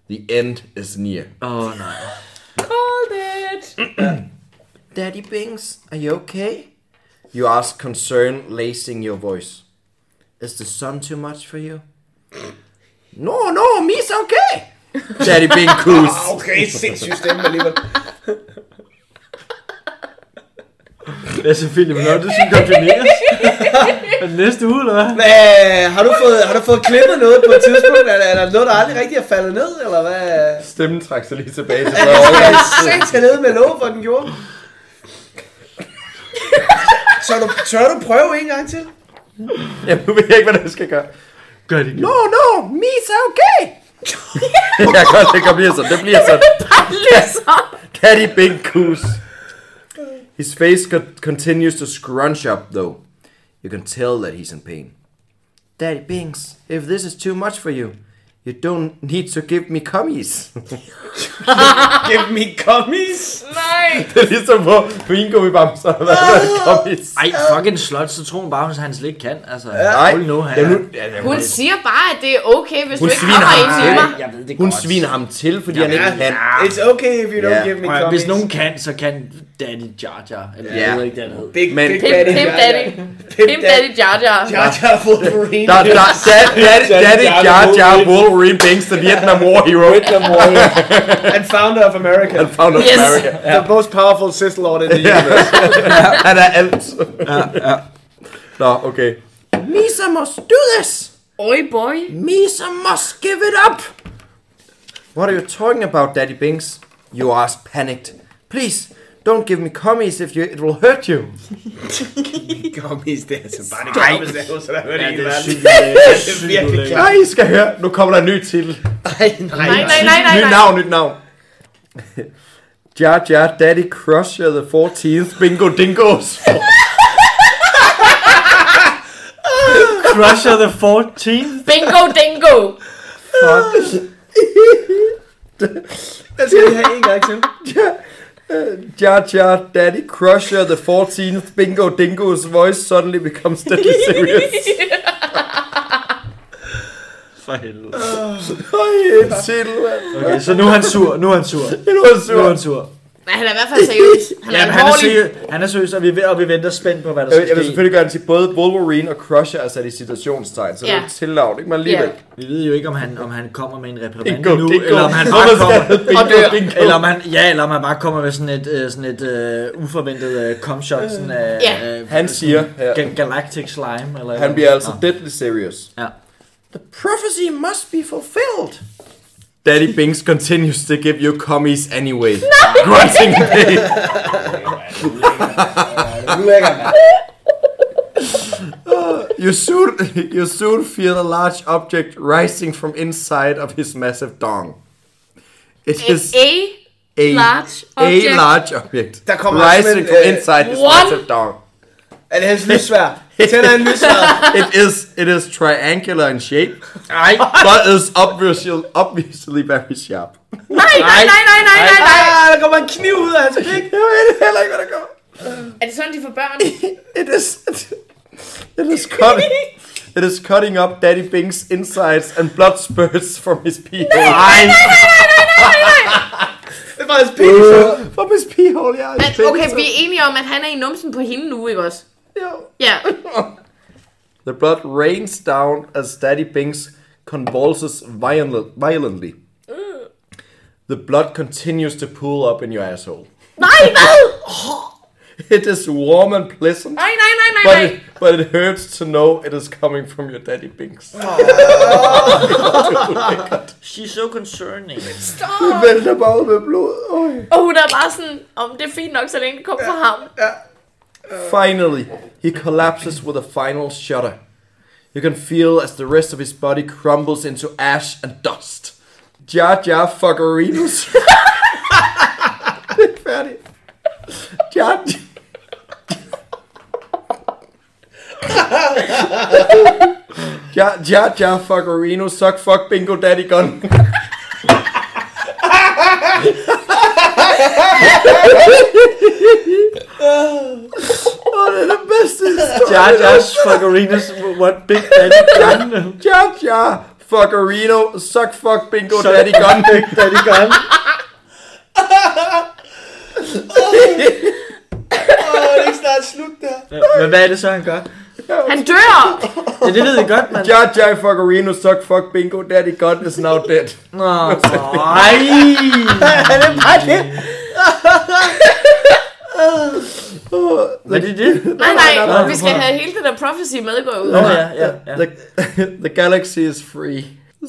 [SPEAKER 3] The end is near.
[SPEAKER 4] Åh, oh, nej.
[SPEAKER 5] Called it.
[SPEAKER 3] Daddy Bings, are you okay? You ask concern, lacing your voice. Is the sun too much for you? No, no, me's okay. Daddy Bing coos.
[SPEAKER 2] Okay, sindssyg stemme alligevel.
[SPEAKER 4] Det er selvfølgelig, men når det skal konfirmeres. Er det næste uge, eller hvad?
[SPEAKER 2] Men, øh, har, du fået, har du fået klippet noget på et tidspunkt? Er, er der noget, der aldrig rigtig er faldet ned, eller hvad?
[SPEAKER 3] Stemmen trak sig lige tilbage til
[SPEAKER 2] Jeg er sindssygt nede med lov, hvor den gjorde. Så du, tør du prøve en gang til?
[SPEAKER 3] Jamen, nu ved jeg ikke, hvad der skal gøre.
[SPEAKER 4] Gør det igen.
[SPEAKER 3] No, no, me's okay. jeg kan godt, det kan blive sådan. Det bliver sådan.
[SPEAKER 5] Bare lyser.
[SPEAKER 3] Daddy Bing coos. His face co- continues to scrunch up, though. You can tell that he's in pain. Daddy Binks, if this is too much for you, you don't need to give me cummies.
[SPEAKER 2] Give me gummies.
[SPEAKER 5] Nej.
[SPEAKER 3] det er ligesom på Bingo i Bamser, der er cummies.
[SPEAKER 4] Ej, fucking slot, så tror hun bare, at han slet ikke kan. Altså,
[SPEAKER 3] Nej,
[SPEAKER 4] hold nu, han
[SPEAKER 3] ja, nu,
[SPEAKER 4] er-
[SPEAKER 3] ja, ja,
[SPEAKER 5] Hun siger bare, at det er okay, hvis du
[SPEAKER 3] hun
[SPEAKER 5] ikke
[SPEAKER 3] sviner
[SPEAKER 5] kommer
[SPEAKER 3] ham
[SPEAKER 5] i timer.
[SPEAKER 3] til.
[SPEAKER 4] Jeg ved det
[SPEAKER 3] Hun
[SPEAKER 4] godt.
[SPEAKER 3] sviner ham til, fordi han
[SPEAKER 2] Ja,
[SPEAKER 3] ikke kan.
[SPEAKER 2] It's okay if you don't
[SPEAKER 3] Ja.
[SPEAKER 2] give me
[SPEAKER 4] Prøv at høre,
[SPEAKER 2] gummies.
[SPEAKER 4] Hvis nogen kan, så kan Daddy Jar Jar, eller
[SPEAKER 3] Ja.
[SPEAKER 4] jeg ved ikke, det han hed.
[SPEAKER 2] Big,
[SPEAKER 3] Men-
[SPEAKER 2] big
[SPEAKER 5] Pimp,
[SPEAKER 2] Daddy.
[SPEAKER 5] Pimp
[SPEAKER 2] Jar Jar.
[SPEAKER 5] Daddy. Pimp Daddy Jar Jar.
[SPEAKER 2] Jar Jar Wolverine.
[SPEAKER 3] Der, der, der, der, der, det Jar Jar Wolverine bangs the Vietnam War hero. Vietnam War
[SPEAKER 2] And founder of America.
[SPEAKER 3] Found of
[SPEAKER 5] Yes.
[SPEAKER 3] America.
[SPEAKER 2] The most powerful Sith Lord in the universe.
[SPEAKER 3] Han er alt. Ja, ja. Nå, okay. Misa must do this.
[SPEAKER 5] Oi boy.
[SPEAKER 3] Misa must give it up. What are you talking about, Daddy Binks? You are panicked. Please, don't give me commies if you, it will hurt you.
[SPEAKER 2] Gummies, det er altså bare det gamle stavs, der er det
[SPEAKER 4] Ja,
[SPEAKER 2] hele
[SPEAKER 4] det er
[SPEAKER 2] verden.
[SPEAKER 4] sygt ulækkert.
[SPEAKER 2] Det er
[SPEAKER 4] Sygt
[SPEAKER 2] virkelig
[SPEAKER 4] ulækkert.
[SPEAKER 3] Nej, I skal høre. Nu kommer der en ny titel.
[SPEAKER 2] Nej, nej, nej.
[SPEAKER 5] Nej, nej, nej, nej,
[SPEAKER 3] Nyt
[SPEAKER 5] nej.
[SPEAKER 3] navn, nyt navn. Jar Jar Daddy Crusher the 14th Bingo Dingos.
[SPEAKER 4] Crusher the 14th?
[SPEAKER 5] Bingo dingo.
[SPEAKER 2] Jeg skal lige have en gang til.
[SPEAKER 3] Jar Jar Daddy Crusher the 14th Bingo Dingo's voice suddenly becomes deadly serious.
[SPEAKER 4] For helvede.
[SPEAKER 3] Ej, en titel. mand.
[SPEAKER 4] Okay, så nu er han sur, nu er han sur.
[SPEAKER 3] Det var
[SPEAKER 4] Nu er han
[SPEAKER 3] sur.
[SPEAKER 4] sur.
[SPEAKER 5] Men han er i hvert fald seriøs. Han er
[SPEAKER 4] Jamen, han er
[SPEAKER 5] alvorlig.
[SPEAKER 4] seriøs, han er seriøs og, vi, og vi venter spændt på, hvad der
[SPEAKER 3] Jeg vil, jeg
[SPEAKER 4] skal
[SPEAKER 3] vil
[SPEAKER 4] ske.
[SPEAKER 3] selvfølgelig gerne sige, både Wolverine og Crusher er sat i situationstegn, så det er
[SPEAKER 5] Ja.
[SPEAKER 3] et tillavn, ikke? Men alligevel.
[SPEAKER 4] Vi ved jo ikke, om han, om han kommer med en reprimand
[SPEAKER 3] Bingo,
[SPEAKER 4] nu,
[SPEAKER 3] dingo.
[SPEAKER 4] eller om han bare
[SPEAKER 3] Hvorfor skal
[SPEAKER 4] kommer...
[SPEAKER 3] han bingo,
[SPEAKER 4] og dør.
[SPEAKER 3] dingo?
[SPEAKER 4] Eller om han, ja, eller om han bare kommer med sådan et, øh, sådan et øh, uforventet øh, comshot, sådan af...
[SPEAKER 5] Ja.
[SPEAKER 4] øh,
[SPEAKER 3] Han siger, ja.
[SPEAKER 4] Ga- Galactic Slime, eller...
[SPEAKER 3] Han bliver altså
[SPEAKER 4] det.
[SPEAKER 3] deadly serious.
[SPEAKER 4] Ja.
[SPEAKER 3] The prophecy must be fulfilled. Daddy Binks continues to give you commies anyway. Grunting pain.
[SPEAKER 2] Ulækker, mand.
[SPEAKER 3] You soon, you soon feel a large object rising from inside of his massive dong. It is
[SPEAKER 5] A
[SPEAKER 3] a
[SPEAKER 5] large
[SPEAKER 3] a
[SPEAKER 5] object.
[SPEAKER 3] large object
[SPEAKER 2] Der kommer også
[SPEAKER 3] rising
[SPEAKER 2] en,
[SPEAKER 3] from
[SPEAKER 2] øh,
[SPEAKER 3] inside his
[SPEAKER 5] What?
[SPEAKER 3] massive dong.
[SPEAKER 2] Er det hans lysvær? Tænder han lysvær?
[SPEAKER 3] It is it is triangular in shape,
[SPEAKER 4] Ej,
[SPEAKER 3] but is obviously obviously very sharp.
[SPEAKER 5] Nej, nej, nej, nej, nej, nej, nej.
[SPEAKER 2] Ah, der kommer en kniv ud af hans pik.
[SPEAKER 3] Jeg ved heller ikke, hvad der kommer.
[SPEAKER 5] Er det sådan, de får børn?
[SPEAKER 3] It is it is cutting it is cutting up Daddy Bing's insides and blood spurts from his pee hole.
[SPEAKER 5] Nej, nej, nej, nej, nej, nej, nej.
[SPEAKER 2] Det var hans pik. så.
[SPEAKER 3] From his pee hole, ja.
[SPEAKER 5] Men, okay, vi er enige om, at han er i numsen på hende nu, ikke også? Ja.
[SPEAKER 3] The blood rains down as Daddy Binks convulses violent, violently. The blood continues to pool up in your asshole.
[SPEAKER 5] Nej, hvad?
[SPEAKER 3] It is warm and pleasant,
[SPEAKER 5] Nej, nej, nej, nej,
[SPEAKER 3] but
[SPEAKER 5] nej.
[SPEAKER 3] it, but it hurts to know it is coming from your Daddy Binks.
[SPEAKER 4] she's so concerning.
[SPEAKER 5] Stop.
[SPEAKER 3] Vælter bare med blod. Øj.
[SPEAKER 5] Og hun er bare sådan, om det er fint nok, så længe det kommer fra ham.
[SPEAKER 3] Finally, he collapses with a final shudder. You can feel as the rest of his body crumbles into ash and dust. Jar Jar Fuckerinos. Det er færdigt. Jar Jar Jar Jar Fuckerino Suck Fuck Bingo Daddy Gun. Åh, det er det bedste historie.
[SPEAKER 4] Jar Jar's fuckerinas, what big daddy gun.
[SPEAKER 3] Jar Jar Fuckerino Suck Fuck Bingo
[SPEAKER 4] Suck
[SPEAKER 3] Daddy Gun.
[SPEAKER 4] Big daddy gun.
[SPEAKER 2] Åh, det er ikke snart slut der.
[SPEAKER 4] Men hvad er det så, han gør?
[SPEAKER 5] Han dør.
[SPEAKER 4] Ja, det ved jeg godt, mand.
[SPEAKER 3] Jar Jar Fuckerino Suck Fuck Bingo Daddy Gun is now dead.
[SPEAKER 4] Nå, nej.
[SPEAKER 2] Er det bare det?
[SPEAKER 4] Var det det?
[SPEAKER 5] Nej, nej,
[SPEAKER 4] nej,
[SPEAKER 5] vi skal have hele det der prophecy med går ud.
[SPEAKER 4] Nå, ja, ja, ja.
[SPEAKER 3] The, the galaxy is free.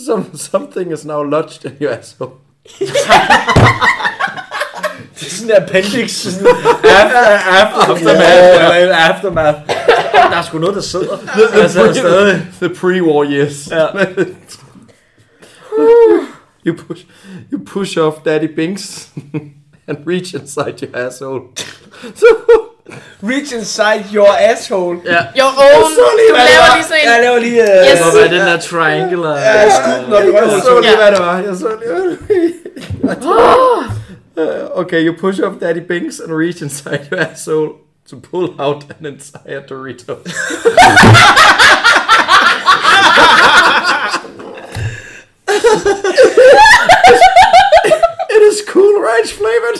[SPEAKER 3] Some, something is now lodged in your asshole.
[SPEAKER 4] Det er sådan en appendix. Sådan after, aftermath. aftermath. Der er sgu noget, der sidder. Altså, stadig.
[SPEAKER 3] The pre-war years.
[SPEAKER 4] Ja.
[SPEAKER 3] you push, you push off Daddy Binks and reach inside your asshole. So,
[SPEAKER 2] Reach inside your asshole.
[SPEAKER 5] Jo, own. Du
[SPEAKER 2] Hvad
[SPEAKER 5] laver
[SPEAKER 2] var?
[SPEAKER 5] lige sådan
[SPEAKER 2] Jeg
[SPEAKER 5] en...
[SPEAKER 2] laver lige... øh,
[SPEAKER 5] Yes.
[SPEAKER 4] Hvor var den der øh? triangular?
[SPEAKER 2] Jeg skudte den op i
[SPEAKER 3] jeg
[SPEAKER 2] røven.
[SPEAKER 3] så lige,
[SPEAKER 5] Ja.
[SPEAKER 3] hvad det var. Jeg så lige, hvad det var. Uh, Okay, you push off Daddy Binks and reach inside your asshole to pull out an entire Dorito. It is cool ranch flavored.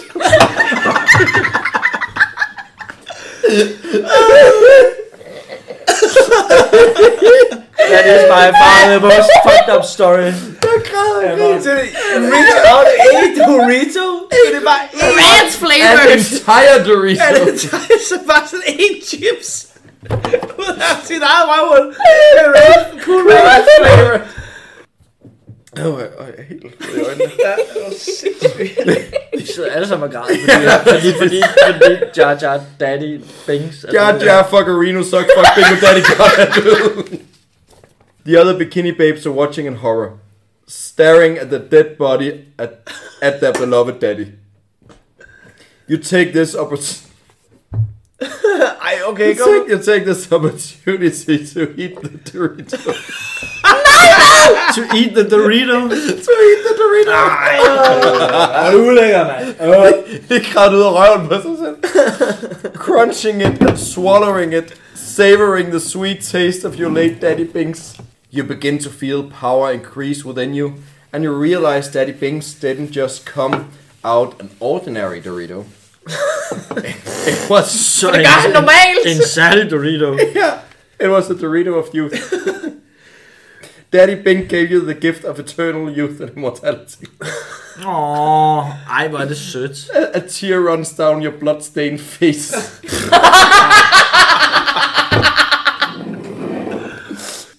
[SPEAKER 4] That is by far the most fucked up story.
[SPEAKER 2] Så er det Dorito, og det er ikke Dorito. Så det er bare én,
[SPEAKER 5] Man's
[SPEAKER 3] An
[SPEAKER 5] flavor.
[SPEAKER 3] entire Dorito.
[SPEAKER 2] og det er så bare sådan én chips. Ud af sit eget røvhul. Det er Ralph- Cool Ranch flavor. Åh, øh, øh, jeg er helt rød i øjnene. Ja, det var sindssygt.
[SPEAKER 4] Vi sidder alle sammen og græder, fordi, fordi, fordi, fordi Jar Jar Daddy altså- Bings.
[SPEAKER 3] Jar Jar Fuckerino sucks fuck Bingo Daddy God er død. The other bikini babes are watching in horror. Staring at the dead body at, at their beloved daddy. You take this opportunity.
[SPEAKER 2] Ej, okay,
[SPEAKER 3] You
[SPEAKER 2] kom.
[SPEAKER 3] take, you take this opportunity to eat the Dorito.
[SPEAKER 4] To eat the Dorito.
[SPEAKER 3] to eat the Dorito.
[SPEAKER 4] Er du ulækker, mand?
[SPEAKER 3] Det kravlede ud af røven på sig selv. Crunching it and swallowing it, savoring the sweet taste of your late daddy Binks. You begin to feel power increase within you, and you realize daddy Binks didn't just come out an ordinary Dorito. it was so
[SPEAKER 5] Det gør han normalt.
[SPEAKER 4] En særlig Dorito.
[SPEAKER 3] yeah, it was the Dorito of youth. Daddy Bink gave you the gift of eternal youth and immortality.
[SPEAKER 4] Åh, ej, hvor er det sødt.
[SPEAKER 3] A tear runs down your bloodstained face.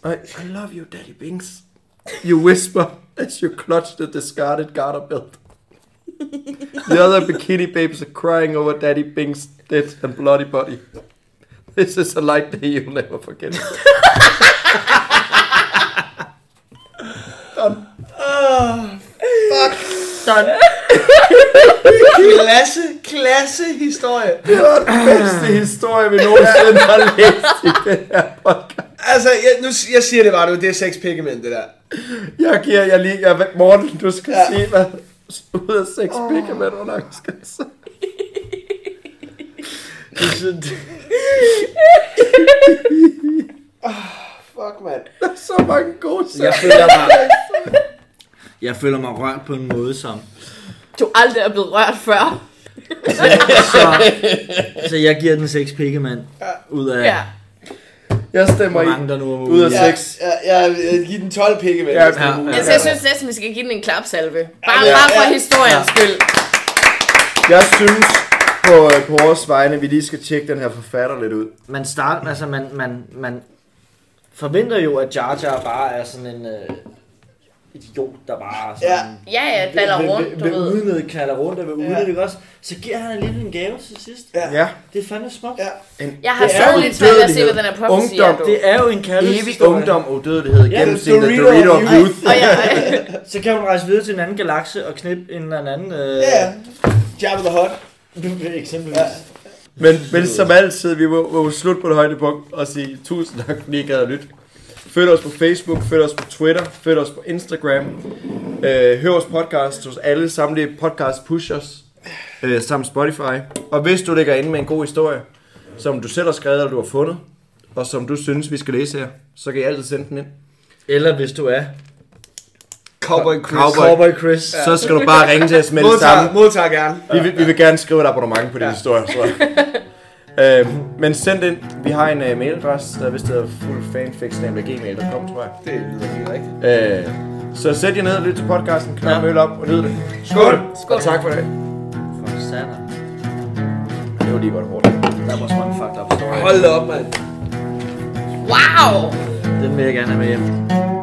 [SPEAKER 3] I, I love you, Daddy Binks. You whisper as you clutch the discarded garter belt. The other bikini babes are crying over Daddy Binks' dead and bloody body. This is a light day you'll never forget.
[SPEAKER 2] Ah, Klasse, klasse historie.
[SPEAKER 3] Bedste historie, vi nogensinde har læst i den her podcast.
[SPEAKER 2] Altså, jeg, nu, jeg siger det bare nu, det er sex pigment, det der.
[SPEAKER 3] Jeg giver jer lige... Jeg, Morten, du skal ja. sige, hvad ud af seks oh. pikke, hvad du nok skal sige.
[SPEAKER 2] Fuck, mand.
[SPEAKER 3] Så mange gode sager.
[SPEAKER 4] Jeg føler mig... Jeg føler mig rørt på en måde, som...
[SPEAKER 5] Du aldrig er blevet rørt før.
[SPEAKER 4] Så, så jeg giver den 6 pikke, mand. Ud af...
[SPEAKER 5] Ja.
[SPEAKER 3] Jeg stemmer
[SPEAKER 4] Hvor
[SPEAKER 3] i.
[SPEAKER 4] mange der nu er
[SPEAKER 3] Ud af
[SPEAKER 4] muligt.
[SPEAKER 2] Ja,
[SPEAKER 3] seks.
[SPEAKER 2] ja, ja, jeg giver den 12 pikke, mand.
[SPEAKER 3] Ja,
[SPEAKER 2] Ja.
[SPEAKER 3] ja.
[SPEAKER 5] Altså, jeg synes næsten, vi skal give den en klapsalve. Bare,
[SPEAKER 2] Ja.
[SPEAKER 5] bare for
[SPEAKER 2] Ja.
[SPEAKER 5] historiens skyld.
[SPEAKER 3] Jeg synes på, øh, på vores vegne, vi lige skal tjekke den her forfatter lidt ud.
[SPEAKER 4] Man starter, altså man, man, man forventer jo, at Jar Jar bare er sådan en øh, idiot, der bare er sådan...
[SPEAKER 2] Ja.
[SPEAKER 5] Ja, ja, baller rundt,
[SPEAKER 4] ved,
[SPEAKER 5] du
[SPEAKER 4] ved,
[SPEAKER 5] ved.
[SPEAKER 4] ved udnytte, knaller rundt og ved
[SPEAKER 2] Ja.
[SPEAKER 4] udnytte, ikke også? Så giver han alligevel en gave til sidst.
[SPEAKER 2] Ja.
[SPEAKER 3] Ja.
[SPEAKER 4] Det er fandme smukt.
[SPEAKER 2] Ja.
[SPEAKER 5] Jeg har
[SPEAKER 4] Det er
[SPEAKER 5] stadig
[SPEAKER 4] jo
[SPEAKER 5] lidt svært ved at se,
[SPEAKER 3] dødelighed.
[SPEAKER 5] hvad den her prophecy
[SPEAKER 3] Ungdom,
[SPEAKER 5] er, du.
[SPEAKER 4] Det er jo en
[SPEAKER 3] Evig
[SPEAKER 4] kærlighedshistorie.
[SPEAKER 3] ungdom og dødelighed
[SPEAKER 4] Ja,
[SPEAKER 3] gennem sin
[SPEAKER 2] Dorito
[SPEAKER 3] Dorito of
[SPEAKER 2] of
[SPEAKER 3] Youth.
[SPEAKER 5] Og jeg,
[SPEAKER 4] Så kan hun rejse videre til en anden galakse og knippe en eller anden... Øh,
[SPEAKER 2] Ja, ja. Jabba the Hutt.
[SPEAKER 4] Eksempelvis.
[SPEAKER 2] Ja.
[SPEAKER 3] Men, men som altid, vi må, må slut på det højdepunkt og sige tusind tak, fordi I gad at lytte. Følg os på Facebook, følg os på Twitter, følg os på Instagram. Øh, hør vores podcast hos alle samtlige podcast pushers, øh, samt Spotify. Og hvis du ligger inde med en god historie, som du selv har skrevet, eller du har fundet, og som du synes, vi skal læse her, så kan I altid sende den ind.
[SPEAKER 4] Eller hvis du er
[SPEAKER 2] Cowboy Chris.
[SPEAKER 3] Cowboy.
[SPEAKER 4] Cowboy Chris.
[SPEAKER 3] Så skal du bare ringe til os med det samme.
[SPEAKER 2] Modtager, modtager gerne.
[SPEAKER 3] Vi vil, vi vil gerne skrive et abonnement på din ja. historie, tror jeg. øhm, men send ind. Vi har en uh, mailadresse, der er vist hedder fuldfanfix.gmail.com, tror jeg.
[SPEAKER 2] Det lyder helt rigtigt.
[SPEAKER 3] Øh, så sæt jer ned og lyt til podcasten, knap ja. øl op og nyd det.
[SPEAKER 2] Skål!
[SPEAKER 5] Skål.
[SPEAKER 3] Og tak for det.
[SPEAKER 4] For satan.
[SPEAKER 3] Det var lige godt hårdt.
[SPEAKER 4] Der var også mange fucked up stories.
[SPEAKER 2] Hold da op, mand.
[SPEAKER 5] wow!
[SPEAKER 4] Den vil jeg gerne have med hjem.